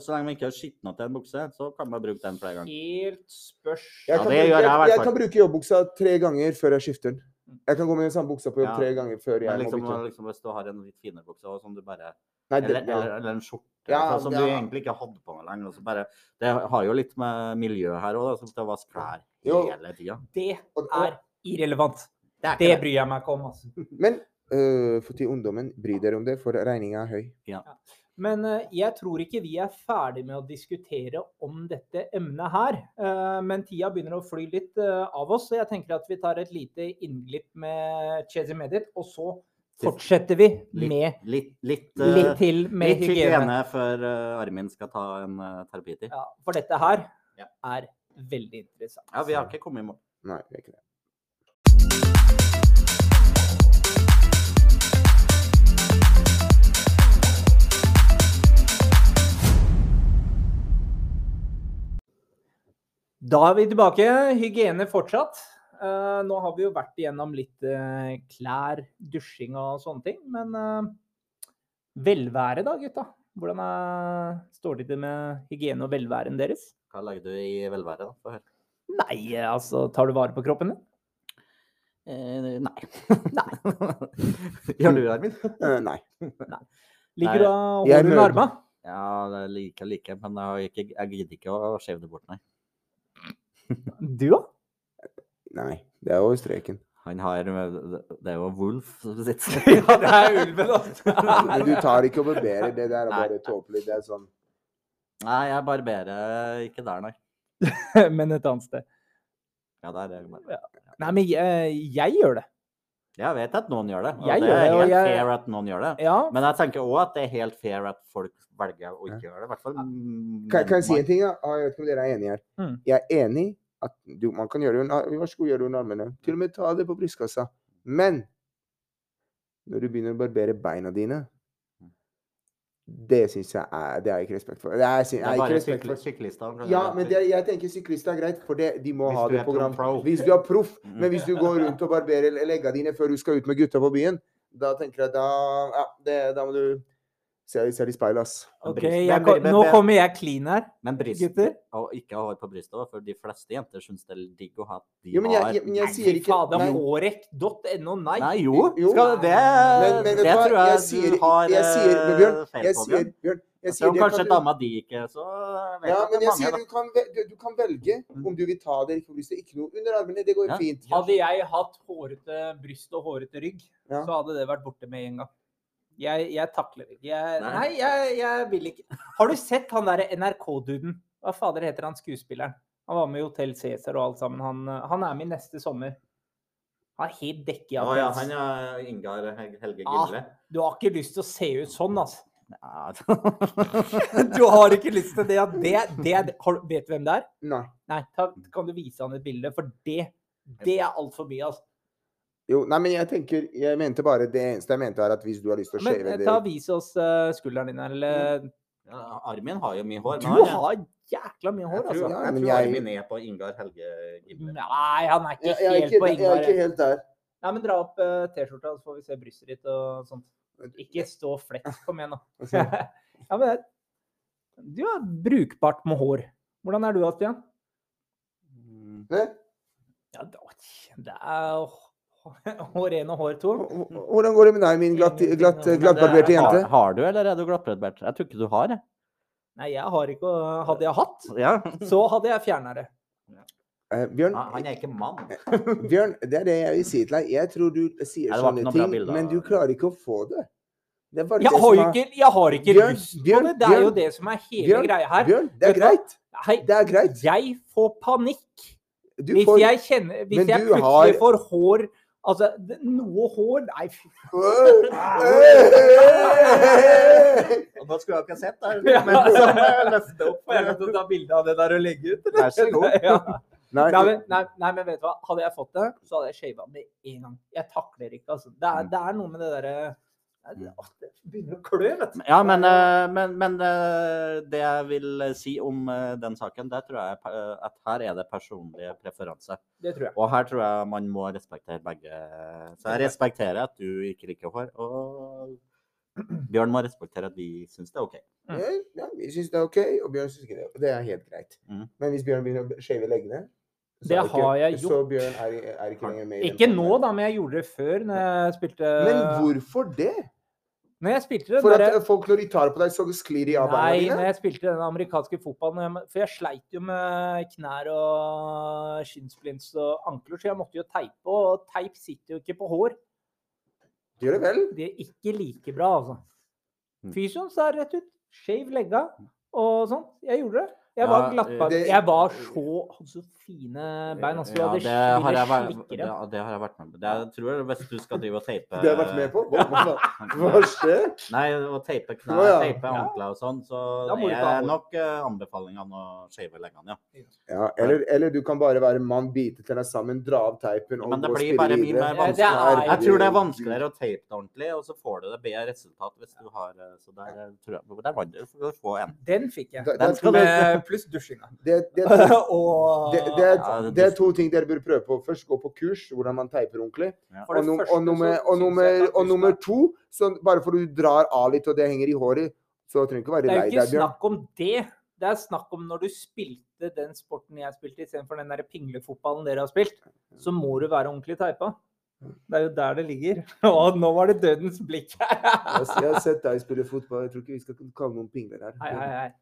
så lenge man ikke har skitna til en bukse, så kan man bruke den flere ganger.
helt spørs...
Jeg
Ja,
kan,
det
bruke-
gjør jeg i
jeg,
hvert
jeg
fall.
kan bruke jobbbuksa tre ganger før jeg skifter den. Jeg kan gå med den samme buksa på jobb
Ja.
tre ganger før jeg
Men liksom,
må bytte.
liksom, hvis du har en litt finere bukse også, som du bare
Nei, det,
Eller,
ja.
eller, eller en skjorte
Ja,
altså, som du
ja.
egentlig ikke hadde på noe lenger. og så bare, det har jo litt med miljøet her òg, som skal vaske klær
Jo.
hele tida.
Det
Og- og-
er irrelevant.
Det er
Det
ikke det.
bryr jeg meg ikke om. Altså.
Men øh, for til ungdommen, bry dere om det, for regninga er høy.
Men eh, jeg tror ikke vi er ferdig med å diskutere om dette emnet her. Eh, men tida begynner å fly litt eh, av oss, så jeg tenker at vi tar et lite innglipp med Chezi Medit, og så fortsetter vi med
Litt, litt, eh,
litt til med
litt hygiene
hygiene.
før eh, Armin skal ta en uh, terapitid.
Ja, for dette her
Ja.
er veldig interessant.
Ja, vi har ikke kommet i mål.
Nei, det er ikke det.
Da er vi tilbake. Hygiene fortsatt. Eh, nå har vi jo vært igjennom litt eh, klær, dusjing og sånne ting. Men eh, velvære da, gutta? Hvordan er, står det til med hygiene og velværen deres?
Hva legger du i velvære, da? Få høre.
Nei, eh, altså Tar du vare på kroppen din?
*laughs* Eh, nei. Gjør du, Armin?
Eh, nei.
Liker du å ha
Jeg
hår under
møter-
armene?
Ja, det er like like, men jeg, har ikke, jeg gidder ikke å shave det bort, nei.
Du, da?
Nei, det er over
*laughs*
streken.
Han har øh, Det er jo Wolf som
*laughs*
sitter
Ja, det er ulven,
Men du
altså.
tar ikke og barberer. Det der er
Nei.
bare tåpelig. Det er sånn
Nei, jeg barberer øh, ikke der, nei.
*laughs* Men et annet sted.
Ja, der er jeg bare.
Nei, men jeg, jeg gjør det.
Jeg vet at noen gjør det. Og
Jeg
det
gjør det,
er
og
helt
jeg-
fair at noen gjør det.
Ja.
Men jeg tenker òg at det er helt fair at folk velger å ikke gjøre det. I hvert fall mm,
Kan, kan jeg si
menn.
en ting, da? Ah, Jeg vet ikke om dere er enige her.
Mm.
Jeg er enig at du, man kan gjøre det under, vær så god, gjør det under armene. Til og med ta det på brystkassa. Men når du begynner å barbere beina dine
Mm.
det syns jeg er Det har jeg ikke respekt for. Det er, jeg,
Det
jeg
er
har ikke
bare
respekt
sykli-
for.
syklistene. skjønner
Ja,
du,
men
at-
det, jeg tenker syklister er greit, for det, de må
Hvis
ha
du
det
er
på gram.
pro.
Hvis du er proff,
Mm.
men hvis du går rundt og barberer leggene dine før du skal ut med gutta på byen, da tenker jeg da Ja, det, da må du se deg selv i speilet, ass.
OK, jeg,
Brist- Men-
kom-
men-
nå
men-
kommer jeg clean her.
Men bryst,
Gutter?
å ikke ha hår på brystet også, for de fleste jenter syns det er digg å ha at de
Jo, men jeg-
har
jeg- men jeg
Nei,
sier
fy
ikke-
fader,
nei.
Hårek.no, nei.
Nei, jo!
Jo.
Skal det
Men, men vet
Det
du hva?
tror jeg,
jeg sier,
du har
jeg sier, men Bjørn,
eh, feil
jeg
på,
sier,
Bjørn.
Bjørn, jeg
Selv
sier
om
det
kanskje
kan du,
dama di ikke, så vet
ja,
jeg at
men
det er
jeg
mange,
sier
da.
du kan, vel- du, du kan velge om du vil ta det eller ikke hvis det er ikke noe under armene. Det går
Ja.
fint.
Hadde jeg hatt hårete bryst og hårete rygg,
Ja.
så hadde det vært borte med en gang. Jeg, jeg takler ikke. Jeg,
Nei.
nei, jeg, jeg vil ikke. Har du sett han derre NRK-duden? Hva fader heter han skuespilleren? Han var med i Hotell Cæsar og alt sammen. Han, eh, han er med neste sommer. Han er helt dekket av
Å ja,
pels.
han er Ingar Hel- Helge
Ah.
*laughs* Gilde.
Du har ikke lyst til å se ut sånn, altså.
Ja.
Du har ikke lyst til det. ja. *laughs* det, det, er- har, du- vet du hvem det er?
Nei.
Nei, ta, kan du vise han et bilde? For det, det er altfor mye, altså.
Jo, nei, men jeg tenker, jeg mente bare, det eneste jeg mente er at hvis du har lyst til å
Men
shave
eh,
det
ta Vis oss eh, skulderen din, eller
Ja, Armin har jo mye hår.
Du
men han er-
har jækla mye hår,
Jeg tror,
altså.
Ja,
jeg
men
tror
jeg-
Armin er på Ingar Helge Gilde.
Nei, han er
jeg,
ikke
jeg, er
helt
ikke,
på
jeg er
Ingvar.
ikke helt der.
Nei, men dra opp eh, T-skjorta, så får vi se brystet ditt og sånt. Ikke stå flett. Kom igjen, da. *laughs*
Altså,
*laughs*
ja, men det, du er brukbart med hår. Hvordan er du, Astian?
Mm.
Hæ?
Ja, det det er hår- *laughs* hår én og hår to.
H- h- Hvordan går det med deg, min glatt, glatt, glattbarberte
Men det-
jente?
Har, har du, eller er du glattbarbert? Jeg tror ikke du har, jeg.
Nei, jeg har ikke å- Hadde jeg hatt,
Ja.
så hadde jeg fjerna det.
Eh, Bjørn,
Han han er ikke mann.
Bjørn, det er det jeg vil si til deg. Jeg tror du sier
Ja, det var ikke
sånne
noe bra
ting,
bilde
men
av-
du klarer ikke å få det. Det er bare
Jeg
det
har
som
jo
er-
ikke, jeg har ikke
Bjørn,
lyst på
Bjørn,
det. Det er jo
Bjørn,
det som er hele
Bjørn,
greia her.
Bjørn, det er
Vet du hva?
greit.
Hei,
Det er greit.
jeg får panikk.
Du
hvis
får
jeg kjenner Hvis
Men
jeg
du
plutselig
har-
får hår Altså, det- noe hår Nei, fy
Og nå skulle jeg ikke sett *laughs* det.
Ja.
Men så må jeg løfte opp.
Får jeg lov til å ta bilde av det der og legge ut?
Vær så god.
*laughs* Ja.
*laughs* Nei,
Nei, men, nei, nei, men vet du hva? Hadde jeg fått det, så hadde jeg shava med en gang. Jeg takler ikke, altså. Det
Mm.
er, det er noe med det derre Nei, det- åh, Det begynner å klø, vet du.
Ja, men, eh, men, men eh, det jeg vil si om eh, den saken, der tror jeg eh, at her er det personlige preferanser.
eh,
Det tror jeg.
Og her tror jeg man må respektere begge. eh, Så jeg respekterer at du ikke liker hår, og *clears throat* Bjørn må respektere at vi syns det er OK.
Ja, ja, vi syns det er OK, og Bjørn syns ikke det. Og det er helt greit.
Mhm.
Men hvis Bjørn begynner å shave leggene så
Det
er ikke-
har jeg
Så Bjørn er, er ikke lenger med i den
Ikke
podden
nå,
her.
da, men jeg gjorde det før, når jeg spilte
Men hvorfor det?
Når jeg spilte det
For
der-
at eh, folk når de tar på deg, så sklir de av beina
Nei, når
dine?
jeg spilte den amerikanske fotballen når jeg- For jeg sleit jo med knær og skinnsplints og ankler, så jeg måtte jo teipe. Og teip sitter jo ikke på hår.
Gjør det vel?
Det er ikke like bra, altså.
Mm.
Fysioen sa rett ut. Shave legga og sånn. Jeg gjorde det. Jeg var
Ja,
glattbar.
det-
Jeg var så hadde så fine bein. Altså, du
Ja,
hadde
det har jeg vært,
ville slikke
det,
dem.
det har jeg vært med på. Det jeg tror jeg, hvis du skal drive og teipe
Det har jeg vært med på? Hva, hva, *laughs* hva skjer?
Nei, å teipe knær,
Å, ja.
teipe
Ja.
ankler og sånn, så
Da må du
det
ta
er
hår.
nok eh, anbefalingene å shave leggene, ja.
Ja, eller, eller du kan bare være mann, bite tenna sammen, dra av teipen og gå
Men det
og
blir
spille
bare mye
videre.
Ja,
mer
det er-
vanskeligere. Jeg tror det er
Herregud.
vanskeligere å teipe det ordentlig, og så får du det bedre resultat hvis du har eh, Så der eh, tror jeg Der vant du for å få en.
Den fikk jeg.
Da- da
Den skal
tror
du-
jeg-
Med *laughs* pluss dusjinga.
det- det tror jeg-
og
Det, det, er,
Ja, det-
det er to ting dere burde prøve på. Først gå på kurs, hvordan man teiper ordentlig.
For
Og,
det
num-
første
og, nummer,
så
og,
synes
nummer,
jeg at
og
du
nummer
skal-
to, så bare for du drar av litt og det henger i håret, så trenger du ikke være
Det er
lei
jo ikke
deg, Bjørn.
snakk om det. Det er snakk om når du spilte den sporten jeg spilte, istedenfor den der pinglefotballen dere har spilt, så må du være ordentlig teipa. Det er jo der det ligger. *laughs* Og nå var det dødens blikk her. *laughs*
Jeg, jeg har sett deg spille fotball. Jeg tror ikke vi skal kalle noen pingler her.
Hei, hei, hei.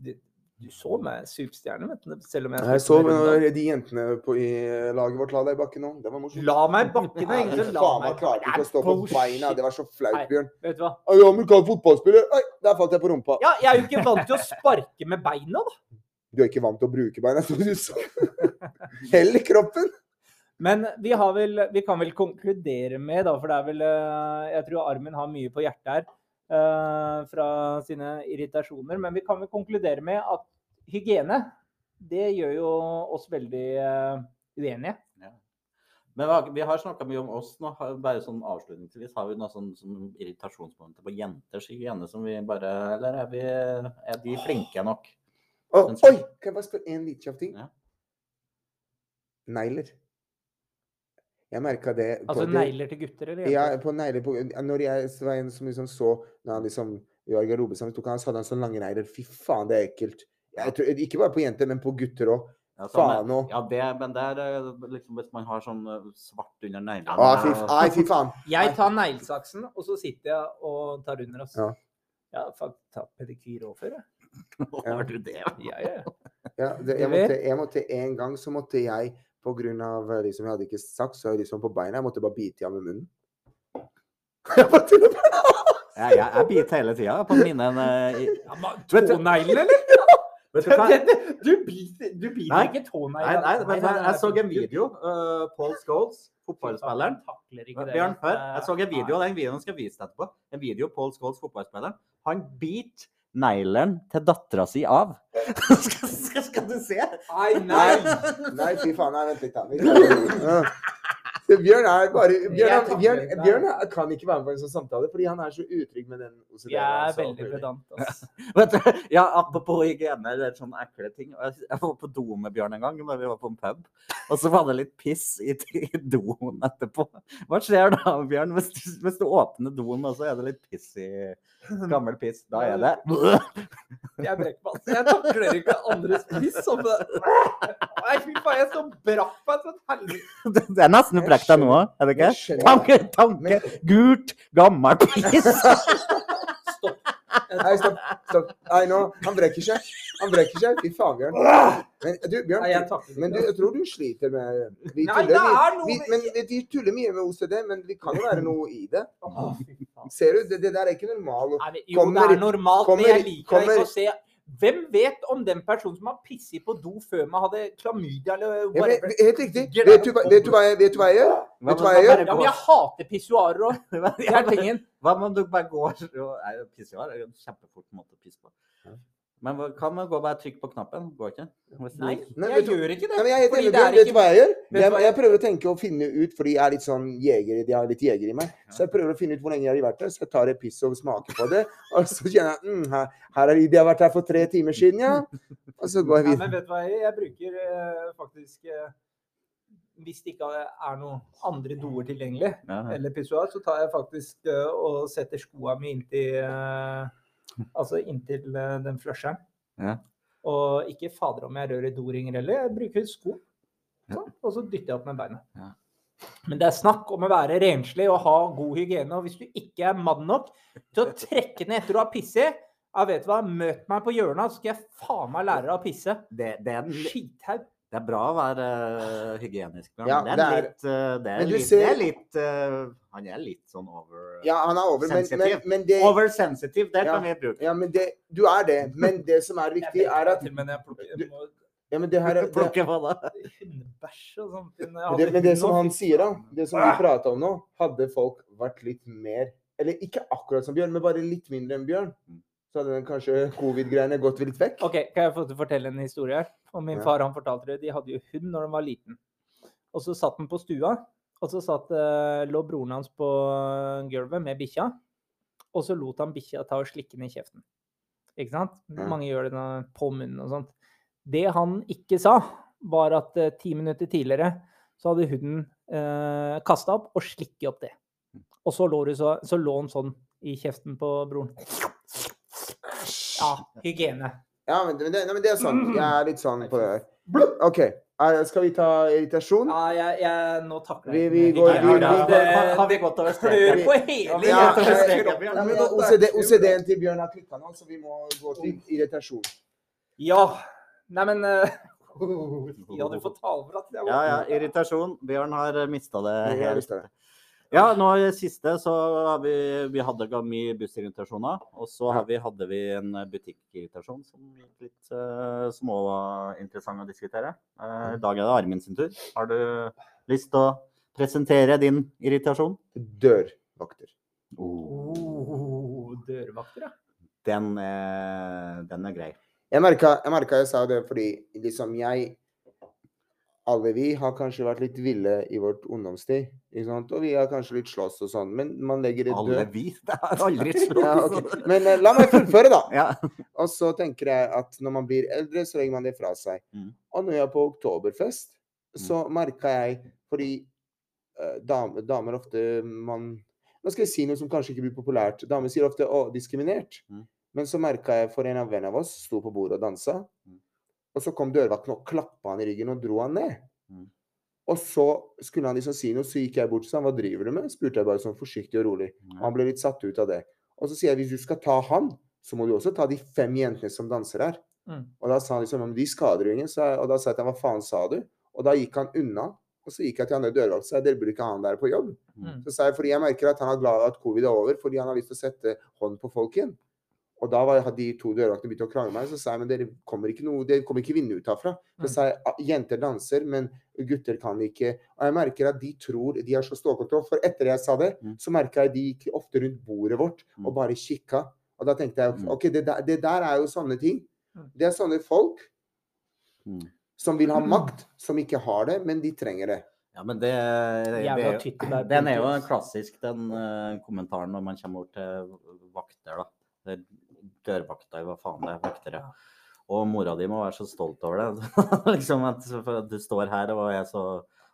Du, du så meg superstjerne, vet du. Selv om jeg
Nei, Jeg så
spilte med Rondal.
når de jentene på, i eh, laget vårt la deg i bakken nå. Det var morsomt.
La meg bakke
Nei,
ned. egentlig,
faen,
La meg
jeg klarte ikke å stå på
Bullshit.
beina. Det var så flaut,
Nei.
Bjørn.
Vet du hva?
Å, Jeg er amerikansk fotballspiller. Oi, der falt jeg på rumpa.
Ja, jeg er jo ikke vant til å sparke med beina, da.
Du er ikke vant til å bruke beina, som du *laughs* sa. Heller kroppen.
Men vi, har vel, vi kan vel konkludere med, da, for det er vel eh, Jeg tror Armin har mye på hjertet her eh, fra sine irritasjoner. Men vi kan vel konkludere med at hygiene, det gjør jo oss veldig eh, uenige.
Men vi har- vi har snakka mye om oss nå. har- Bare sånn avslutningsvis, har vi noe sånn, sånn irritasjonsmomenter på jenters hygiene som vi bare Eller er, vi, er de flinke nok?
Å,
Men så-
Oh, oi! Kan jeg bare spørre en liten kjapp ting?
Ja.
Negler. Jeg merka det på
Altså
det-
negler til gutter, eller?
Ja,
jenter?
på negler på Når jeg Svein som liksom så Når han liksom var i garderoben sammen, tok han så hadde han sånne lange negler. Fy faen, det er ekkelt. Jeg tror, ikke bare på jenter, men på gutter òg.
Ja, sånn,
Faen òg.
Ja, det, men det er eh, liksom hvis man har sånn eh, svart under neglene
Å, fy,
og-
ai, fy faen.
Jeg tar neglesaksen, og så sitter jeg og tar under oss.
Ja.
Jeg har faktisk tatt pedikyr òg før, jeg.
Har du det?
Ja, ja, *laughs* ja.
Ja, det,
Du
jeg,
vet.
måtte, jeg måtte en gang så måtte jeg på grunn av eh, liksom, Jeg hadde ikke saks så jeg liksom på beina. Jeg måtte bare bite i ham med munnen. *laughs* Jeg måtte bare-
Ja, jeg, jeg biter hele tida på mine eh, i-
Ja, men
Vet du-
Tånegler, *laughs* eller?
Vet du hva?
*laughs*
Du biter, du biter
Nei.
ikke tånegler.
Nei, nei, men jeg, jeg så
nei,
en video. eh, Paul Scholes, fotballspilleren.
Han takler ikke det.
Bjørn, hør.
Eh,
Jeg så en video, og den videoen skal jeg vise deg etterpå. En video av Paul Scholes, fotballspilleren. Han biter neglen til dattera si av. *laughs* skal, skal, skal du se?
Nei, nei.
Nei, fy faen. Nei, vent litt, da. Vi tar- Ja. Så Bjørn er bare Bjørn,
Jeg
Bjørn,
takler
Bjørn er- kan ikke være med på en sånn samtale fordi han er så utrygg med den altså. OCD-en.
Jeg er altså
hans, og alt
veldig
mulig.
pedant. ass.
Vet du, ja, Apropos hygiene eller sånne sånn ekle ting. og Jeg jeg var på do med Bjørn en gang da vi var på en pub. Og så var det litt piss i, i doen etterpå. Hva skjer da, Bjørn? Hvis du, hvis du åpner doen, og så er det litt piss i Gammel piss. Da er det
*laughs* Jeg brekker meg. ass. Jeg takler ikke andres piss. som det- Nei, fy faen, jeg så brakk meg som et helvete.
Det er nesten du
Jeg
brekker deg nå, er det ikke?
Jeg skjønner.
Tanke, tanke,
Men-
gult, gammel *laughs* piss.
Stopp.
Nei, stopp. stopp. Nei, nå. Han brekker seg. Han brekker seg. Fy faen, Bjørn. Men du, Bjørn.
Nei, jeg takler
Men du,
ikke. ass.
jeg tror du sliter med vi
Nei,
tuller,
det
mye-
er noe
vi,
med-
men, vi- Vi tuller mye med OCD, men det kan jo være noe i det.
Å, fy faen.
Ser du, det, det der er ikke normalt.
Nei, men Jo, det
Kommer-
er normalt,
kommer-
men jeg liker
kommer-
ikke å se Hvem vet om den personen som har pisset på do før meg, hadde klamydia eller
Ja, men,
whatever?
helt riktig. Vet du, hva- vet, du hva jeg, vet du hva jeg gjør? Vet du hva jeg gjør?
Ja, men jeg hater pissoarer òg. Det er tingen.
Hva om du bare går og Nei, pisse var en kjempefort måte å pisse på.
Ja.
Men hva- kan man gå og bare trykke på knappen? Går ikke? Hvis det
Nei,
gikk-
Nei,
jeg
vet du-
gjør ikke det.
Nei, men jeg er helt
fordi
enig,
det er
Bjørn. Vet du
ikke
hva jeg gjør?
du
Jeg,
hva-
jeg prøver å tenke og finne ut, fordi jeg er litt sånn jeger, jeg er litt jeger i meg. Så jeg prøver å finne ut hvor lenge jeg har vært der, så jeg tar et piss og smaker på det. Og så kjenner jeg mm, her, her er de, de har vært her for tre timer siden, ja. Og så går jeg
Nei,
videre.
men vet du hva, jeg, jeg bruker eh, faktisk eh, Hvis det ikke er noen andre doer tilgjengelig,
Ja, ja.
eller pissoar, så tar jeg faktisk eh, og setter skoa mi inntil eh, Altså inntil eh, den flusheren.
Ja.
Og ikke fader om jeg rører doringer heller, jeg bruker sko. Sånn, og så dytter jeg opp med beina.
Ja.
Men det er snakk om å være renslig og ha god hygiene. Og hvis du ikke er mann nok til å trekke ned etter du har pisset ja, vet du hva, Møt meg på hjørnet, så skal jeg faen meg lære deg å pisse.
Det, det, er, en-
Skithaug.
det er bra å være eh, hygienisk, men
Ja,
det er,
det er-
litt, eh, det, er
Men du
litt, det
ser-
er litt eh, Han er litt sånn over
Ja, han er over, men, men,
Sensitiv.
men det
Oversensitive, det
Ja.
kan vi bruke.
Ja, men det, du er det. Men det som er viktig, er at
Men jeg plukker- jeg må-
ja, men det her er, det,
*laughs* Plukke på det.
hundebæsj og sånt. Jeg
men
hadde
det, men det
hund
som
og
han
fikk
sier, da,
faen.
det som vi prata om nå, hadde folk vært litt mer Eller ikke akkurat som Bjørn, men bare litt mindre enn Bjørn. Så hadde den kanskje covid-greiene gått litt vekk.
OK, kan jeg få til å fortelle en historie her? Og min
Ja.
far han fortalte det. De hadde jo hund når de var liten. Og så satt den på stua, og så satt, eh, lå broren hans på eh, gulvet med bikkja. Og så lot han bikkja ta og slikke den i kjeften. Ikke sant?
Ja.
Mange gjør det når- på munnen og sånt. Det han ikke sa, var at eh, ti minutter tidligere så hadde hunden eh, kasta opp og slikket opp det. Og så lå, det så, så lå han sånn i kjeften på broren. Ja, hygiene.
Ja, men, men, det, nei, men det er sant. Jeg er litt sånn på det her. OK. Er, skal vi ta irritasjon?
Ja, jeg, jeg, nå takler
Vi-
jeg
vi
ikke
går-
mer.
vi- vi-
Ja, det-
Har- har vi
det
gått
klør
over streken?
eh, på hele
Ja, eh,
jævla
ja,
streken.
Ja, men OCD, OCD-en til Bjørn har klikka nå, så vi må gå til irritasjon.
Ja. Nei, men eh, *laughs* Ja, du får ta over. At jeg
Ja, ja. Irritasjon. Bjørn har mista det
Jeg har
helt.
lyst til det.
Ja, nå i det siste så har vi, vi hadde ga- mye bussirritasjoner. Og så har vi, hadde vi en butikk-irritasjon som gikk litt uh, små var interessant å diskutere. Eh, I dag er det Armin sin tur. Har du lyst til å presentere din irritasjon?
Dørvakter.
Oh, dørvakter, ja.
Den, er, den er grei.
Jeg merka jeg, merket jeg sa det fordi liksom jeg Alle vi har kanskje vært litt ville i vårt ungdomstid. Ikke sant? Og vi har kanskje litt slåss og sånn, men man legger et
Alle
død
vi. Det er *laughs* aldri
*laughs* ja,
slått
ok.
sånn.
Men eh, la meg fullføre, da.
Ja.
Og så tenker jeg at når man blir eldre, så legger man det fra seg.
Mm.
Og når jeg er på oktoberfest, så merka jeg Fordi eh, dam- damer ofte man Nå skal jeg si noe som kanskje ikke blir populært. Damer sier ofte 'å, diskriminert'.
Mm.
Men så merka jeg for en av vennene av oss sto på bordet og dansa.
Mm.
Og så kom dørvakten og klappa han i ryggen og dro han ned.
Mm.
Og så skulle han liksom si noe, så gikk jeg bort til han, hva driver du med? spurte jeg bare sånn forsiktig og rolig. Og han ble litt satt ut av det. Og så sier jeg hvis du skal ta han, så må du også ta de fem jentene som danser her.
Mm.
Og da sa han liksom om de skader jo ingen. Så, jeg- og da sa jeg til ham hva faen sa du? Og da gikk han unna. Og så gikk jeg til han der dørvakten og sa dere burde ikke ha han der på jobb.
Mm.
Så sa jeg fordi jeg merker at han er glad at covid er over, fordi han har lyst til å sette hånd på folk igjen. Og da var, hadde de to dørvaktene begynt å krangle med meg. Så sa jeg men dere kommer ikke, noe, dere kommer ikke vinne ut herfra.
Mm.
Så sa jeg «Ah, jenter danser, men gutter kan ikke. Og jeg merker at de tror de har så stålkontroll. For etter jeg sa det,
Mm.
så merka jeg de gikk ofte rundt bordet vårt og
Mm.
bare kikka. Og da tenkte jeg
Mm.
OK, det der, det der er jo sånne ting.
Mm.
Det er sånne folk
Mm.
som vil ha makt, som ikke har det, men de trenger det.
Ja, men det, det,
Jævla
er jo-
tyttebær
den er jo
politikk.
klassisk, den eh, kommentaren når man kommer bort til vakter, da. Det er dørvakta, hva faen det er, vaktere. Og mora di må være så stolt over det. *laughs* liksom at, for at du står her og er så,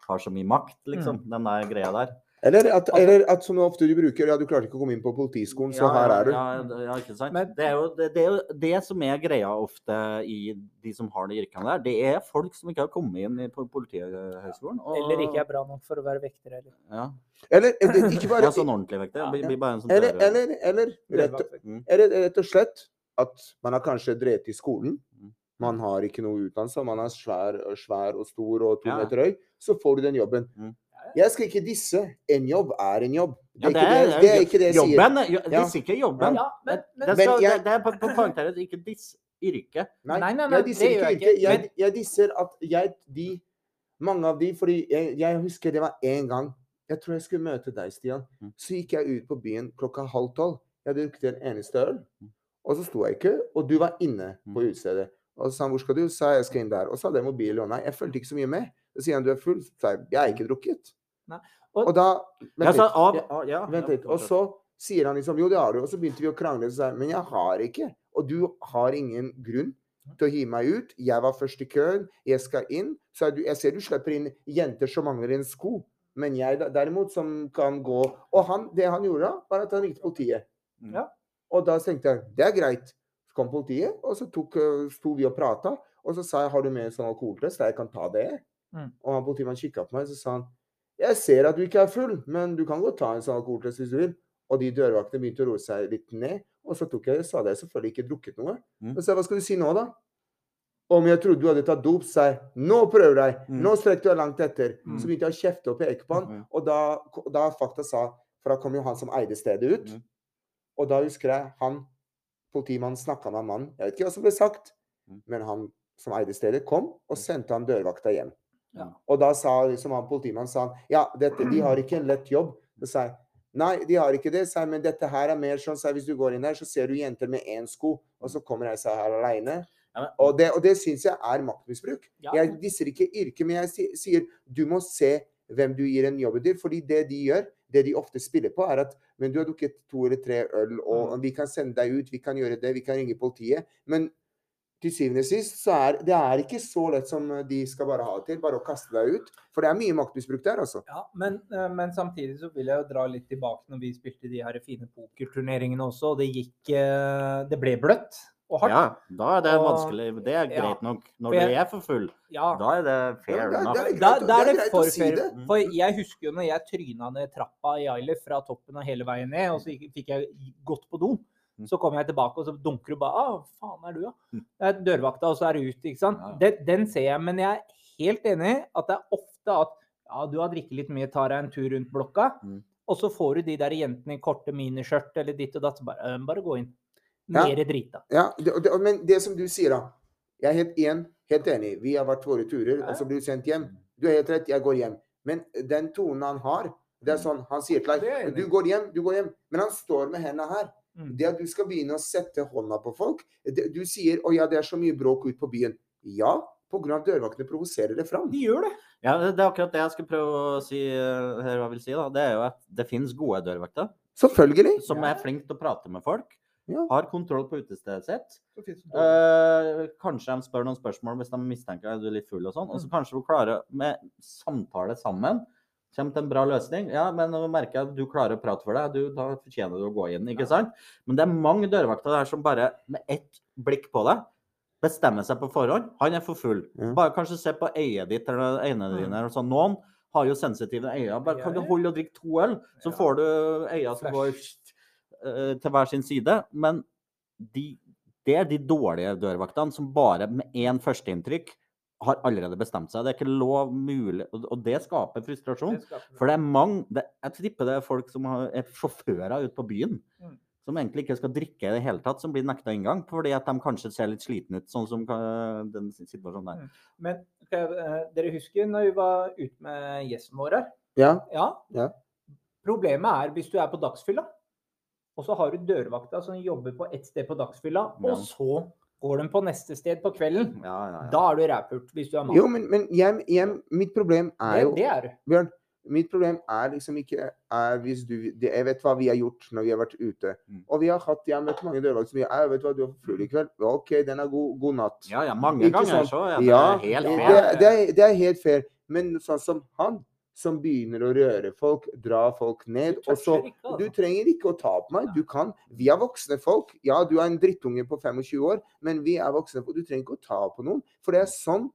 har så mye makt, liksom.
Mm.
Den der greia der.
Eller at, eller at som ofte du bruker, ja, du klarte ikke å komme inn på politiskolen, så
Altså- Ja,
her
ja,
er du.
Ja, d- ja ikke sant.
Men-
det, er jo, det, det er jo det som er greia ofte i de som har de yrkene der. Det er folk som ikke har kommet inn i- på Politihøgskolen. og-
Eller ikke er bra nok for å være vekter heller.
Ja,
Eller eh, det- ikke
ja *laughs*
bare
sånn ordentlig vekter.
Ja.
Blir- blir bare en sånn
Eller,
dørvakt.
eller, eller, rett,
Dørvakt.
Mm.
eller eh, rett og slett at man har kanskje drevet i skolen.
Mm.
Man har ikke noe utdannelse, man er svær, og svær og stor og to
Ja.
meter høy. Så får du den jobben.
Mm.
Jeg skal ikke disse. En jobb er en jobb.
Ja,
Det er, ikke, det, det er ikke det jeg sier.
jobben, sier.
Ja.
Jobben, disse ikke jobben.
Ja, men, men,
det, skal,
Men jeg-
det, det er på, på poengteret, ikke diss yrket.
Nei,
Nei, nei, nei,
jeg disser
det gjør
ikke
jeg
yrket.
ikke,
Jeg, jeg disser at jeg, de, mange av de Fordi jeg, jeg husker det var én gang jeg tror jeg skulle møte deg, Stian.
Mm.
Så gikk jeg ut på byen klokka halv tolv. Jeg hadde drukket en eneste øl.
Mm.
Og så sto jeg i kø, og du var inne på utestedet. Og så sa han 'hvor skal du?' sa jeg 'jeg skal inn der'. Og så hadde jeg mobil i hånda. Jeg fulgte ikke så mye med. Så sier han 'du er full'. Så sa jeg 'jeg er ikke drukket'.
Nei, og-
Og da
Ja,
Vent
så,
litt.
av,
Ja,
av, ja,
Vent
ja,
litt. Og så sier han liksom 'jo, det har du', og så begynte vi å krangle. Så sa jeg 'men jeg har ikke', og du har ingen grunn til å hive meg ut. Jeg var først i køen, jeg skal inn. Så er du, jeg ser du slipper inn jenter som mangler en sko, men jeg da- derimot, som kan gå Og han, det han gjorde da, var at han ringte politiet.
Mm.
Ja.
Og da tenkte jeg 'det er greit'. Så kom politiet, og så tok, øh, sto vi og prata. Og så sa jeg 'har du med en sånn alkoholtest', jeg kan ta det.
Mm.
Og han politimannen kikka på meg, så sa han jeg ser at du ikke er full, men du kan godt ta en sånn alkoholtest hvis du vil. Og de dørvaktene begynte å roe seg litt ned. Og så tok jeg, sa hadde jeg selvfølgelig ikke drukket noe.
Mm.
Og så sa jeg, hva skal du si nå, da? Om jeg trodde du hadde tatt dop, sa jeg. Nå prøver jeg!
Mm.
Nå strekker du deg langt etter.
Mm.
Så begynte jeg å kjefte og peke på han.
Mm.
Og da, da fakta sa For da kom jo han som eide stedet, ut.
Mm.
Og da husker jeg han politimannen snakka med mannen. Jeg vet ikke hva som ble sagt,
Mm.
men han som eide stedet, kom og sendte han dørvakta hjem.
Ja.
Og da sa liksom han politimannen sa han, ja, dette, de har ikke en lett jobb. Så sa jeg nei, de har ikke det, sa jeg, men dette her er mer sånn, sa jeg, hvis du går inn der, så ser du jenter med én sko, og så kommer jeg seg her aleine.
Ja, men-
Og det, og det syns jeg er maktmisbruk.
ja.
Jeg disser ikke yrket, men jeg si- sier du må se hvem du gir en jobb til. Fordi det de gjør, det de ofte spiller på, er at men du har drukket to eller tre øl, og vi kan sende deg ut, vi kan gjøre det, vi kan ringe politiet. Men til syvende og sist så er det er ikke så lett som de skal bare ha det til, bare å kaste deg ut. For det er mye maktmisbruk der, altså.
Ja, men, eh, men samtidig så vil jeg jo dra litt tilbake når vi spilte de her fine pokerturneringene også, og det gikk eh, Det ble bløtt. og hardt.
Ja, da er det
Og-
vanskelig. Det er
ja.
greit nok. Når
For
du
jeg-
er for full,
Ja.
da er det
Ja, men
fair
da- da
enough.
greit
*laughs* Da,
å-
da er det
greit å
for
si
fair.
det.
For jeg husker jo når jeg tryna ned trappa i Ailey fra toppen og hele veien ned, og så gikk- fikk jeg gått på do.
Mm.
Så kommer jeg tilbake, og så dunker du bare Å, faen er du, da? Det er dørvakta, og så er du ute, ikke sant?
Ja, ja.
Den, den ser jeg, men jeg er helt enig i at det er ofte at ja, du har drikket litt mye, tar deg en tur rundt blokka,
Mm.
og så får du de der jentene i korte miniskjørt eller ditt og datt, så bare, «Eh, bare gå inn.
Ja.
Mere drita.
Ja, det, og det, og- men det som du sier, da. Jeg er helt, en, helt enig. Vi har vært våre turer, og så blir du sendt hjem. Du har helt rett, jeg går hjem. Men den tonen han har det er sånn, Han sier til
Det er jeg
deg
enig i.
du går hjem, du går hjem. Men han står med hendene her.
Mm.
Det at du skal begynne å sette hånda på folk det, Du sier å ja, det er så mye bråk ute på byen. Ja, pga. dørvaktene provoserer det fram.
De gjør det.
Ja, det er akkurat det jeg skulle prøve å si eh, her, hva jeg vil si, da. Det er jo at det finnes gode dørvakter
Selvfølgelig.
som
Ja.
er flinke til å prate med folk.
Ja.
Har kontroll på utestedet sitt.
Eh,
Eh, kanskje de spør noen spørsmål hvis de mistenker at du er litt full og sånn.
Mm.
Og så kanskje du klarer med samtale sammen kommer til en bra løsning. Ja, men nå merker jeg at du klarer å prate for deg. Du, da fortjener du å gå inn, ikke sant? Men det er mange dørvakter der som bare med ett blikk på deg bestemmer seg på forhånd. Han er for full.
Ja.
Bare kanskje se på øyet ditt eller øynene
Mm.
dine. eller sånn. Noen har jo sensitive øyne. Bare kan du
Jeg-
holde og drikke to øl, så
Ja.
får du øyne som går eh, til hver sin side. Men de, det er de dårlige dørvaktene som bare med én førsteinntrykk har allerede bestemt seg. Det er ikke lov mulig Og og det skaper frustrasjon. For det er mange det, Jeg tipper det er folk som har, er sjåfører ute på byen.
Mm.
Som egentlig ikke skal drikke i det hele tatt, som blir nekta inngang fordi at de kanskje ser litt slitne ut. Sånn som eh, den situasjonen der.
Men skal jeg- eh, dere husker når vi var ute med gjesten vår her?
Ja.
Ja.
Ja.
Problemet er hvis du er på dagsfylla, og så har du dørvakta som jobber på ett sted på dagsfylla,
Ja.
og så går de på neste sted på kvelden.
Ja, ja, ja.
Da er du rævpult hvis du er mann.
Jo, men, men jeg, jeg, mitt problem er
det,
jo
det er du.
Bjørn, mitt problem er liksom ikke er hvis du det, Jeg vet hva vi har gjort når vi har vært ute.
Mm.
Og vi har hatt, jeg har møtt mange dørvakter som sier «Au, vet du hva, du er for full i kveld. Ja, OK, den er god. God natt.
ja, ja, mange
Ikke
ganger
sant?
så er det
Ja,
helt
det,
fair.
det, er, det er helt fair. Men sånn som han, som begynner å røre folk, dra folk ned,
Du
og så
toucher ikke, altså.
Du trenger ikke å ta på meg. Du kan. Vi er voksne folk. Ja, du er en drittunge på 25 år, men vi er voksne folk. Du trenger ikke å ta på noen. For det er sånn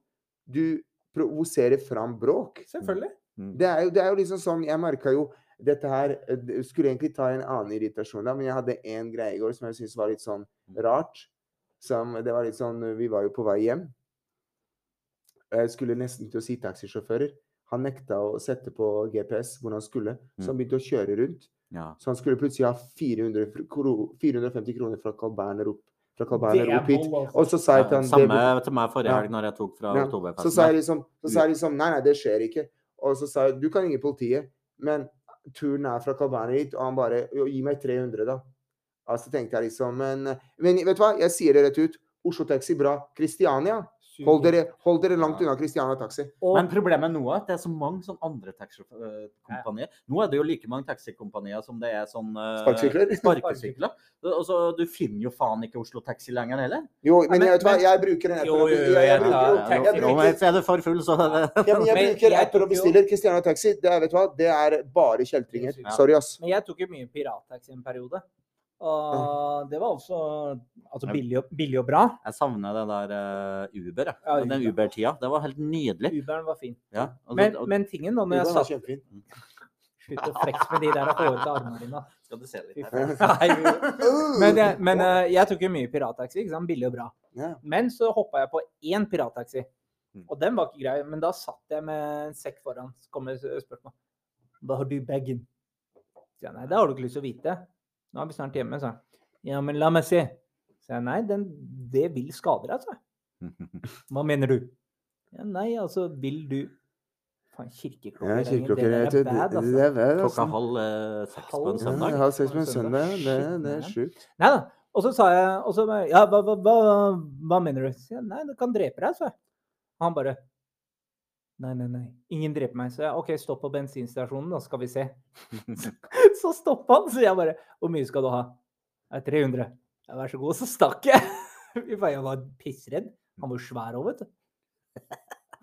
du provoserer fram bråk.
Selvfølgelig.
Mm.
Det er jo, det er jo liksom sånn Jeg merka jo dette her eh, det Skulle egentlig ta en annen irritasjon, da, men jeg hadde én greie i går som jeg syntes var litt sånn
Mm.
rart. Som, det var litt sånn eh, Vi var jo på vei hjem. Og Jeg skulle nesten til å si taxisjåfører. Han nekta å sette på GPS hvor han skulle, så
Mm.
han begynte å kjøre rundt.
Ja.
Så han skulle plutselig ha 400, fr- kro- 450 kroner fra Carl Berner opp, fra Carl
Det
Berner
er
opp hit.
vold, altså.
Og så sa jeg til han det
Samme
blir-
til meg forrige
Ja.
helg når jeg tok fra
ja. Så sa jeg
oktoberfesten.
liksom, så sa jeg liksom Nei, nei, det skjer ikke. Og så sa jeg Du kan ringe politiet, men turen er fra Carl Berner hit, og han bare jo, Gi meg 300, da. Altså tenkte jeg liksom Men, men vet du hva, jeg sier det rett ut. Oslo Taxi, bra. Kristiania,
Mm.
hold dere, hold dere langt unna Kristiania Taxi.
Og,
Men problemet nå er at det er så mange sånn andre taxikompanier. Nå er det jo like mange taxikompanier som det er sånn eh,
Sparkesykler?
*laughs* sparkesykler. Og så- Du finner jo faen ikke Oslo Taxi lenger heller.
Jo, men,
men-
jeg vet du hva,
men-
jeg bruker en app.
Jo, jo, jo,
jeg, jeg
jeg
bruker,
tar-
jo-
jeg
jeg
tar-
bruker,
Nå er du for full, så det
Ja, men jeg
Men
bruker
jeg
apper og
tok jo-
bestiller Christiana Taxi. Det er, vet du hva, det er bare kjeltringer.
Ja.
Sorry, ass.
men jeg tok jo mye pirattaxi en periode. Og det var også altså
Ja.
billig, og, billig og bra.
Jeg savner det der eh, Uber, jeg.
Ja,
den
Uber.
Uber-tida. Det var helt nydelig.
Uberen var fin.
Ja. og så-
Men,
og-
men tingen da, når jeg
Uber var
satt
kjempefin.
Slutt å flekse med de der hårete armene dine.
skal du se litt
Fy
her.
*laughs*
faen. Nei, jo. Men, jeg, men eh, jeg tok jo mye pirattaxi, ikke sant? billig og bra.
Ja.
Men så hoppa jeg på én pirattaxi,
Mm.
og den var ikke grei. Men da satt jeg med en sekk foran, så kommer spørsmålet Hva har du i bagen? Så jeg, nei, det har du ikke lyst til å vite. Nå er vi snart hjemme, sa han. Ja, men la meg se. Så jeg, nei, den, det vil skade deg, sa jeg. Hva mener du? Ja, nei, altså, vil du Faen, kirkeklokker.
Ja,
ringer,
kirkeklokker jeg
det der
tror-
er bad,
Det
altså.
er bad,
Klokka
ass.
halv eh, seks på
Halv-
en søndag.
Ja, halv seks på en søndag. ja, Det,
Shit,
det er
man.
sjukt.
Nei da. Og så sa jeg og så, bare, Ja, hva, hva, hva, hva mener du? Så jeg, nei, det kan drepe deg, sa jeg. Han bare Nei, nei, nei. Ingen dreper meg. Så jeg OK, stopp på bensinstasjonen, da skal vi se. *laughs* så stoppa han, så jeg bare Hvor mye skal du ha? «Nei, 300. Ja, vær så god. Så *laughs* stakk jeg. Vi bare- Jeg var pissredd. Han var svær òg, vet du. *laughs*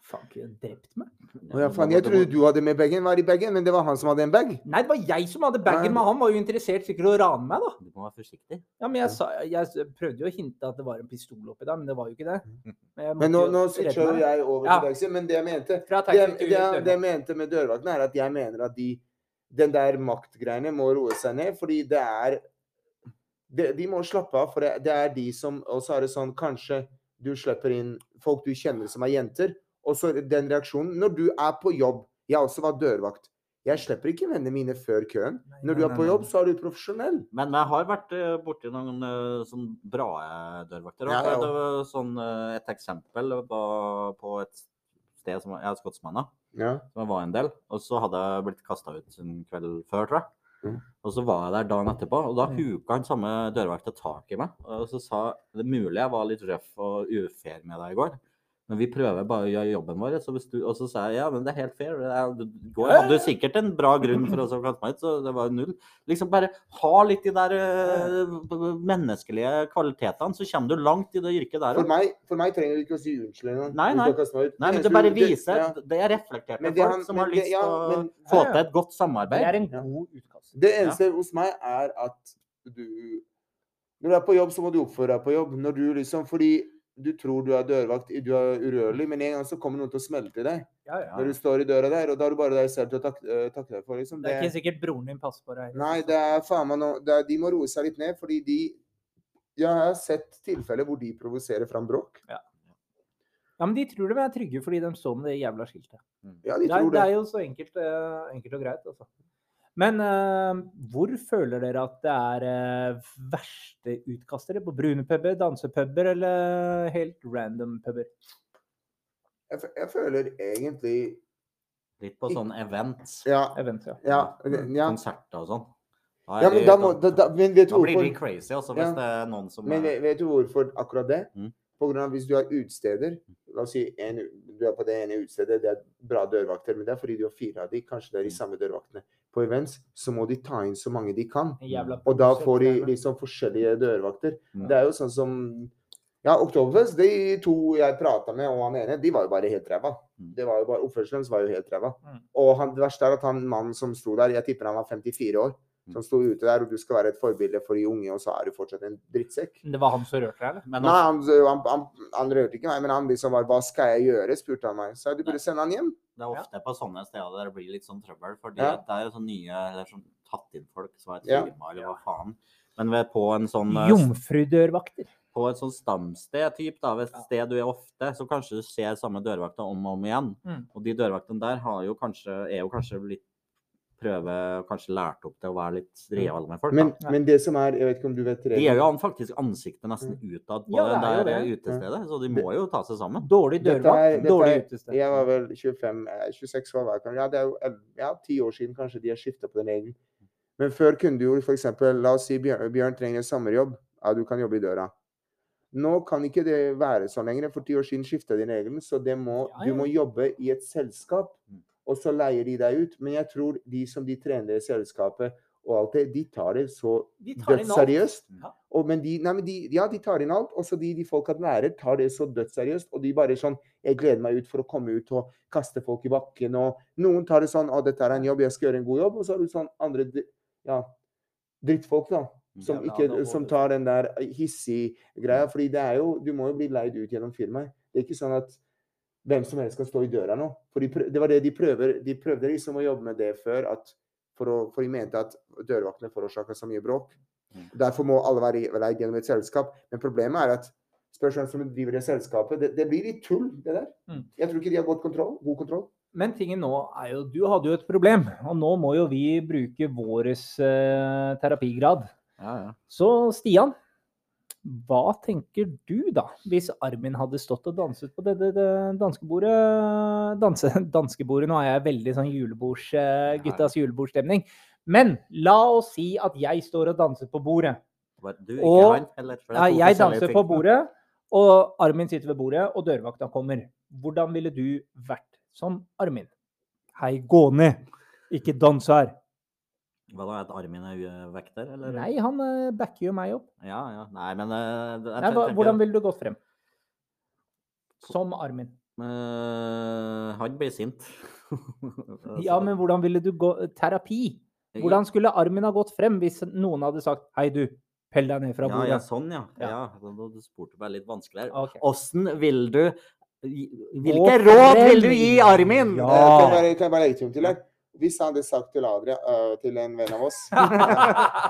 Fuck, ikke drept meg.
Å ja, faen, jeg trodde du hadde med bagen. Hva er i bagen? Men det var han som hadde en bag.
Nei, det var jeg som hadde bagen med han. Var jo interessert sikkert i å rane meg, da.
Du må være forsiktig.
Ja, men jeg, sa, jeg prøvde jo å hinte at det var en pistol oppi der, men det var jo ikke det. jeg
Mm. Men nå,
måtte jo
nå
redde
switcha
meg.
jo jeg over
Ja.
til taxi. Men det jeg mente
Fra
det,
taxi
jeg-
til
det, jeg- det
dørvakt.
jeg mente med dørvaktene, er at jeg mener at de Den der maktgreiene må roe seg ned, fordi det er De, de må slappe av, for det, det er de som Og så er det sånn Kanskje du slipper inn folk du kjenner som er jenter, og så den reaksjonen Når du er på jobb Jeg også var dørvakt. Jeg slipper ikke vennene mine før køen.
Nei,
Når
nei,
du er
nei,
på
nei,
jobb,
nei.
så er du profesjonell.
Men jeg har vært eh, borti noen eh, sånn bra eh, dørvakter. og
Ja, ja,
det var Sånn, eh, et eksempel var på et sted som var- Jeg er skotsmann, da.
Ja.
som jeg var en del. Og så hadde jeg blitt kasta ut en kveld før, tror jeg.
Mm.
Og så var jeg der dagen etterpå, og da
Mm.
huka han samme dørvakta tak i meg. Og så sa det er mulig jeg var litt røff og ufair med deg i går, men vi prøver bare å gjøre jobben vår. Så hvis du, og så sa jeg ja, men det er helt fair. Det er, du går, hadde du sikkert en bra grunn for å kaste meg ut, så det var jo null. Liksom bare ha litt de der eh, menneskelige kvalitetene, så kommer du langt i det yrket der
For
òg.
meg, for meg trenger du ikke å si unnskyld engang.
Nei,
hvis
nei.
har kastet meg ut.
Nei, men
eneste
det bare
du- det-
viser
ja.
Det er reflekterte
Men det
folk
han-
som
men
har
det-
lyst til
ja,
å
men-
få
Ja, ja.
til et godt
Det
samarbeid.
er en
Ja.
god utkast.
Det eneste hos meg er at du Når du er på jobb, så må du oppføre deg på jobb. Når du liksom, fordi du tror du er dørvakt, du er urørlig, men en gang så kommer noen til å smelte deg.
Ja, ja.
Når du står i døra der, og da har du bare deg selv til å takke, eh, takke deg for. liksom.
Det er ikke
Det,
sikkert broren din passer på deg.
nei, det er faen meg noe det er, De må roe seg litt ned, fordi de Jeg har sett tilfeller hvor de provoserer fram bråk.
Ja, men de tror de er trygge fordi de står med det jævla skiltet.
Mm.
Ja, de
Det er,
tror
det
det.
er jo så enkelt, eh, enkelt og greit, altså. Men eh, hvor føler dere at det er eh, verste utkastere? På brune puber, dansepuber eller helt random puber?
Jeg, f- jeg føler egentlig
Litt på sånn event.
Ja.
Event, ja.
Ja.
Mm.
ja.
Konserter og sånn. Da, er
ja men,
vi-
da må, da, da, men vet du
da blir
hvorfor
vi crazy, altså,
Ja.
hvis det er noen som
Men
er
ve- vet du hvorfor akkurat det?
Mm.
På grunn av hvis du har utsteder La oss si en, u- du er på det ene utstedet, det er bra dørvakter, men det er fordi du har fire av de, kanskje
Mm.
det er de samme dørvaktene. På events så må de ta inn så mange de kan.
En Jævla
Og da
pose,
får de
gjerne.
liksom forskjellige dørvakter.
Mm.
Det er jo sånn som Ja, Oktoberfest, de to jeg prata med, og han ene, de var jo bare helt ræva.
Mm.
Det var jo bare, Oppførselen hans var jo helt ræva.
Mm.
Og han, det verste er at han mannen som sto der, jeg tipper han var 54 år,
Mm.
som sto ute der, og du skal være et forbilde for de unge, og så er du fortsatt en drittsekk.
Men Det var han som rørte deg, eller?
Men
Nei, han,
også,
han, han, han rørte ikke meg, men han liksom var Hva skal jeg gjøre? spurte han meg. Så jeg, du burde sende han hjem.
det er ofte på sånne steder der det blir litt sånn trøbbel, fordi
Ja.
at det er jo sånn nye det er sånn tatt inn folk som er
Ja.
filma, eller hva faen. Men ved, på en sånn eh,
Jomfrudørvakter.
på et sånn stamsted, typ, da, et
Ja.
sted du er ofte, så kanskje du ser samme dørvakta om og om igjen.
Mm.
Og de dørvaktene der har jo kanskje, er jo kanskje litt prøve, kanskje lært opp til å være litt
Mm.
real med folk.
Men,
da.
men det som er Jeg vet ikke om du vet
De er
reglene.
jo an- faktisk ansiktet nesten
Mm.
utad på
Ja,
det
det er jo
der eh,
det.
utestedet, så de må jo ta seg sammen.
Dårlig
Dette er-
dørvakt,
dette
dårlig
er-
utested.
Jeg var vel 25, eh, 26 år hver gang. Ja, det er jo elleve- ja, ti år siden kanskje de har skifta på den regelen. Men før kunne du jo f.eks. La oss si Bjørn, Bjørn trenger en sommerjobb. Ja, du kan jobbe i døra. Nå kan ikke det være sånn lenger. For ti år siden skifta de regelen, så det må,
Ja,
du
ja.
må jobbe i et selskap. Og så leier de deg ut. Men jeg tror de som de trener i selskapet og alt det, de tar det så
De tar inn alt.
dødsseriøst.
Ja.
Og, men de, nei, men de, ja, de tar inn alt. Også de, de folka nære tar det så dødsseriøst. Og de bare sånn Jeg gleder meg ut for å komme ut og kaste folk i bakken. Og noen tar det sånn Å, dette er en jobb, jeg skal gjøre en god jobb. Og så har du sånn andre dri- Ja, drittfolk, da. Som,
Jævla altså.
ikke, eh,
ADHD.
som tar den der hissig greia. Fordi det er jo Du må jo bli leid ut gjennom firmaet. Det er ikke sånn at hvem som helst kan stå i døra nå. For de prø- det var det de prøver De prøvde liksom å jobbe med det før, at for, å, for de mente at dørvaktene forårsaka så mye bråk.
Mm.
Derfor må alle være i- leid gjennom et selskap. Men problemet er at spørs hvem som driver det selskapet. Det, det blir litt tull, det der.
Mm.
Jeg tror ikke de har godt kontroll, god kontroll.
Men tingen nå er jo Du hadde jo et problem, og nå må jo vi bruke våres eh, terapigrad.
Ja, ja.
Så Stian, hva tenker du da, hvis Armin hadde stått og danset på dette det danskebordet danse, Danskebordet, nå er jeg veldig sånn julebords, eh,
Ja, ja.
guttas julebordstemning. Men la oss si at jeg står og danser på bordet.
Bare, du, ikke
Og-
han, eller? For det er
Nei,
to
jeg
forskjellige
danser
ting.
på bordet, og Armin sitter ved bordet, og dørvakta kommer. Hvordan ville du vært som Armin? Hei, gå ned! Ikke dans her!
Hva da, at Armin er u- eh, vekter, eller?
Nei, han eh, backer jo meg opp.
Ja, ja. Nei, men eh, jeg
Nei, hva,
tenker-
hvordan ville du gått frem? Som Armin.
Eh, han ble sint. *laughs*
Ja, men hvordan ville du gå Terapi! Hvordan skulle armen ha gått frem hvis noen hadde sagt 'hei, du, pell deg ned fra
ja,
bordet'?
ja, sånn, ja.
Ja.
ja. da- da- Du spurte meg litt vanskeligere.
Ok.
Åssen vil du gi-
Gå
Hvilke råd vil du
frem.
gi Armin?
Eh, Kan
Ah.
jeg
Ja.
bare, kan jeg bare legge til noe til her? Hvis han hadde sagt til Adria, eh, til en venn
*laughs*
av oss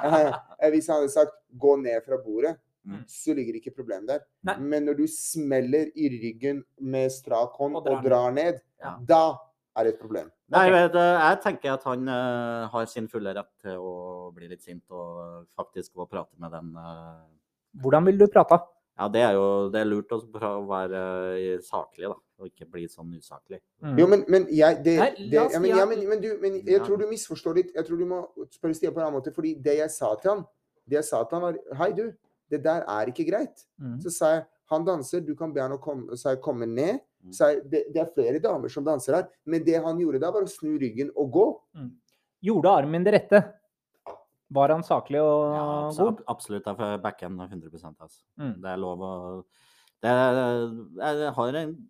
Eh, Hvis han hadde sagt 'gå ned fra bordet',
Mm.
så ligger ikke problemet der.
Nei.
Men når du smeller i ryggen med strak hånd
Og
og
drar
drar, ned,
Ja.
da er det et problem.
Nei,
Ok.
jeg, vet, eh, jeg tenker at han eh, har sin fulle rett til å bli litt sint og faktisk gå og prate med den eh,
Hvordan ville du prata?
Ja, det er jo det er lurt å pra- å være eh, saklig, da. Og ikke bli sånn usaklig.
Mm,
Jo, men, men jeg det,
Nei,
det,
la oss
ja, men,
si
ja,
at-
men, men, du, men
Ja.
jeg tror du misforstår litt. Jeg tror du må spørre Stian på en annen måte. Fordi det jeg sa til han, det jeg sa til han var 'Hei, du, det der er ikke greit'.
Mm.
Så sa jeg 'Han danser, du kan be han å komme, sa jeg, komme ned'.
Mm.
Sa jeg, det, det er flere damer som danser her, men det han gjorde da, var å snu ryggen og gå.
Gjorde armen det rette? Var han saklig og
Ja, abs
god?
ab- absolutt. Jeg får backe han 100 altså.
Mm.
Det er lov å det er, Jeg har en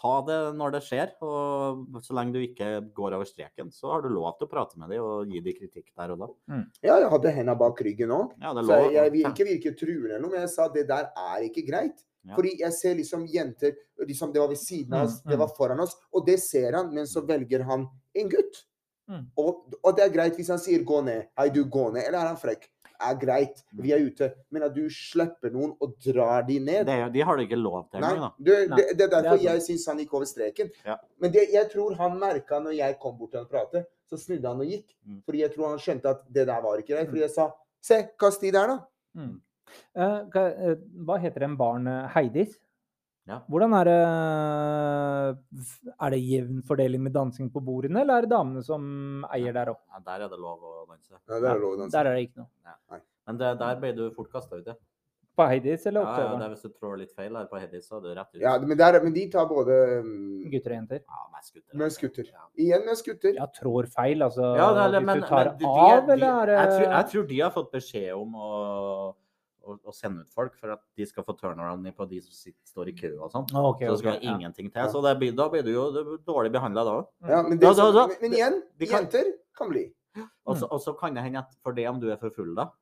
Ta det når det skjer, og så lenge du ikke går over streken, så har du lov til å prate med dem og gi dem kritikk der og da.
Ja, jeg hadde henda bak ryggen òg.
Ja, det er
Så jeg,
lov.
jeg vil ikke virke truende eller noe, men jeg sa det der er ikke greit.
Ja.
Fordi jeg ser liksom jenter liksom Det var ved siden av oss,
Mm,
det var
mm.
foran oss. Og det ser han, men så velger han en gutt.
Mm.
Og, og det er greit hvis han sier 'gå ned'. Hei, du, gå ned. Eller er han frekk? Er greit,
Mm.
vi er ute. Men at du slipper noen og drar de ned
Det, de har du ikke lov til
Nei,
engang, da.
du,
Nei,
det, det er derfor
sant.
jeg syns han gikk over streken.
Ja.
Men det, jeg tror han merka når jeg kom bort til han og pratet, så snudde han og gikk.
Mm.
Fordi jeg tror han skjønte at det der var ikke greit.
Mm.
Fordi jeg sa 'se, kast de der, da'.
Mm. Eh, hva- eh, hva heter den barn eh, Heidis?
Ja.
Hvordan er det eh, f- Er det jevn fordeling med dansing på bordene, eller er det damene som eier der opp?
Ja, der er det lov å danse.
Ja, det er lov å danse.
Der er det ikke noe.
Men det, der ble du fort kasta ut, ja.
På Heidis eller
Ja, ja, det
Opptøveren?
er hvis du trår litt feil her på Hedis, så er du rett ut.
Ja, men, der, men de tar både mm,
Gutter og jenter.
Ja, mest gutter.
Mest
altså.
gutter.
Ja.
Igjen med skutter.
Ja, trår feil, altså.
Ja, det er,
hvis
men,
du tar
men de- de er-
av,
de-
eller er det
jeg tror, jeg tror de har fått beskjed om å, å, å sende ut folk for at de skal få turnaround på de som sitter, står i kø og sånn.
Ah, ok,
Så det skal
ok, ja.
ingenting til. Så det blir, da blir du jo det blir dårlig behandla da òg.
Ja, men,
Da-
det, sånn,
da- da-
men, men igjen,
de kan-
jenter kan bli.
Og
Mm.
så- og så kan det hende at for det om du er for full da,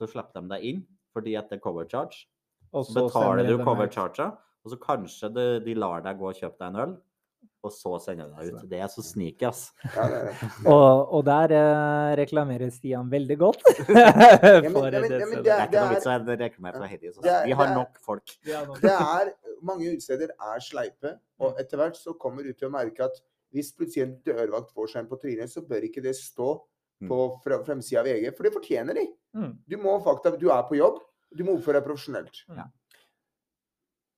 så slipper de deg inn fordi at det er cover charge.
Og
Så
så sender
betaler
de
du
dem
cover
ut.
charge, og så kanskje de, de lar deg gå og kjøpe deg en øl. Og så sender de deg ut. Det er så sneaky, ass.
Ja, det, er det.
Og, og der eh, reklamerer Stian veldig
*laughs*
godt. *laughs* for
ja, men-
det
ja, men
stedet.
Det
det
er
det
ikke noe
er-
vits å reklamere for Hedis. ass.
Det er-
Vi har
det er-
nok folk.
Ja, nå-
det er Mange utesteder er sleipe, og etter hvert så kommer du til å merke at hvis plutselig en dørvakt får seg en på trynet, så bør ikke det stå
Mm.
på fra- fremsida av VG, for det fortjener de.
Mm.
Du må fakta, du er på jobb, du må oppføre deg profesjonelt.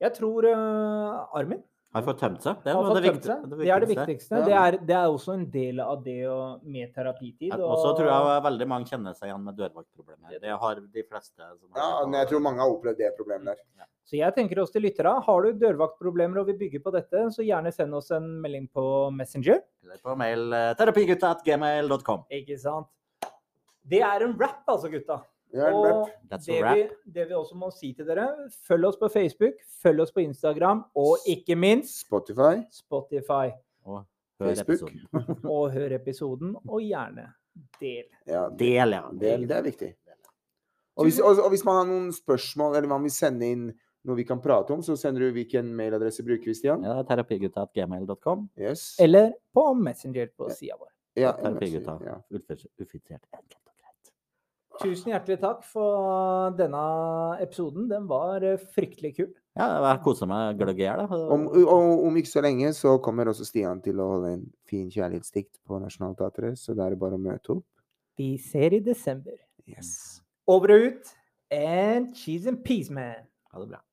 Jeg tror eh, Armin
Har fått tømt seg. Det er
har
noe av
fått
det
tømt
viktig-
seg. Det er det viktigste.
Ja.
Det er, det er også en del av det å, med terapitid.
Og så tror jeg veldig mange kjenner seg igjen med dørvaktproblemer. Det har de fleste. Som har
Ja, men jeg tror mange har opplevd det problemet der.
Så jeg tenker oss til lyttere. Har du dørvaktproblemer og vil bygge på dette, så gjerne send oss en melding på Messenger.
Eller på mail eh, terapigutta.gmail.com.
Ikke sant? Det er en wrap, altså, gutta.
Ja, en rep.
Og
That's a
det vi,
wrap.
det vi også må si til dere, følg oss på Facebook, følg oss på Instagram, og ikke minst
Spotify.
Spotify.
Hør
Facebook.
episoden.
Og hør episoden, og gjerne del.
*laughs* Ja,
Del, ja.
Det,
Del.
det er viktig. Og hvis, og, og hvis man har noen spørsmål, eller man vil sende inn noe vi kan prate om, så sender du hvilken mailadresse bruker vi, Stian?
Ja, terapigutta.gmail.com.
Yes.
Eller på Messenger på sida vår.
Ja,
Terapigutta.
ja.
Ufis- Ufiltrert. Enkelt og greit.
Tusen hjertelig takk for denne episoden. Den var eh, fryktelig kul.
Ja, jeg koser meg gløgg i hjel. da.
Om, og om ikke så lenge så kommer også Stian til å holde en fin kjærlighetsdikt på Nationaltheatret, så da er det bare å møte opp.
Vi ser i desember.
Yes.
Over og ut. And cheese and peace, man.
Ha det bra.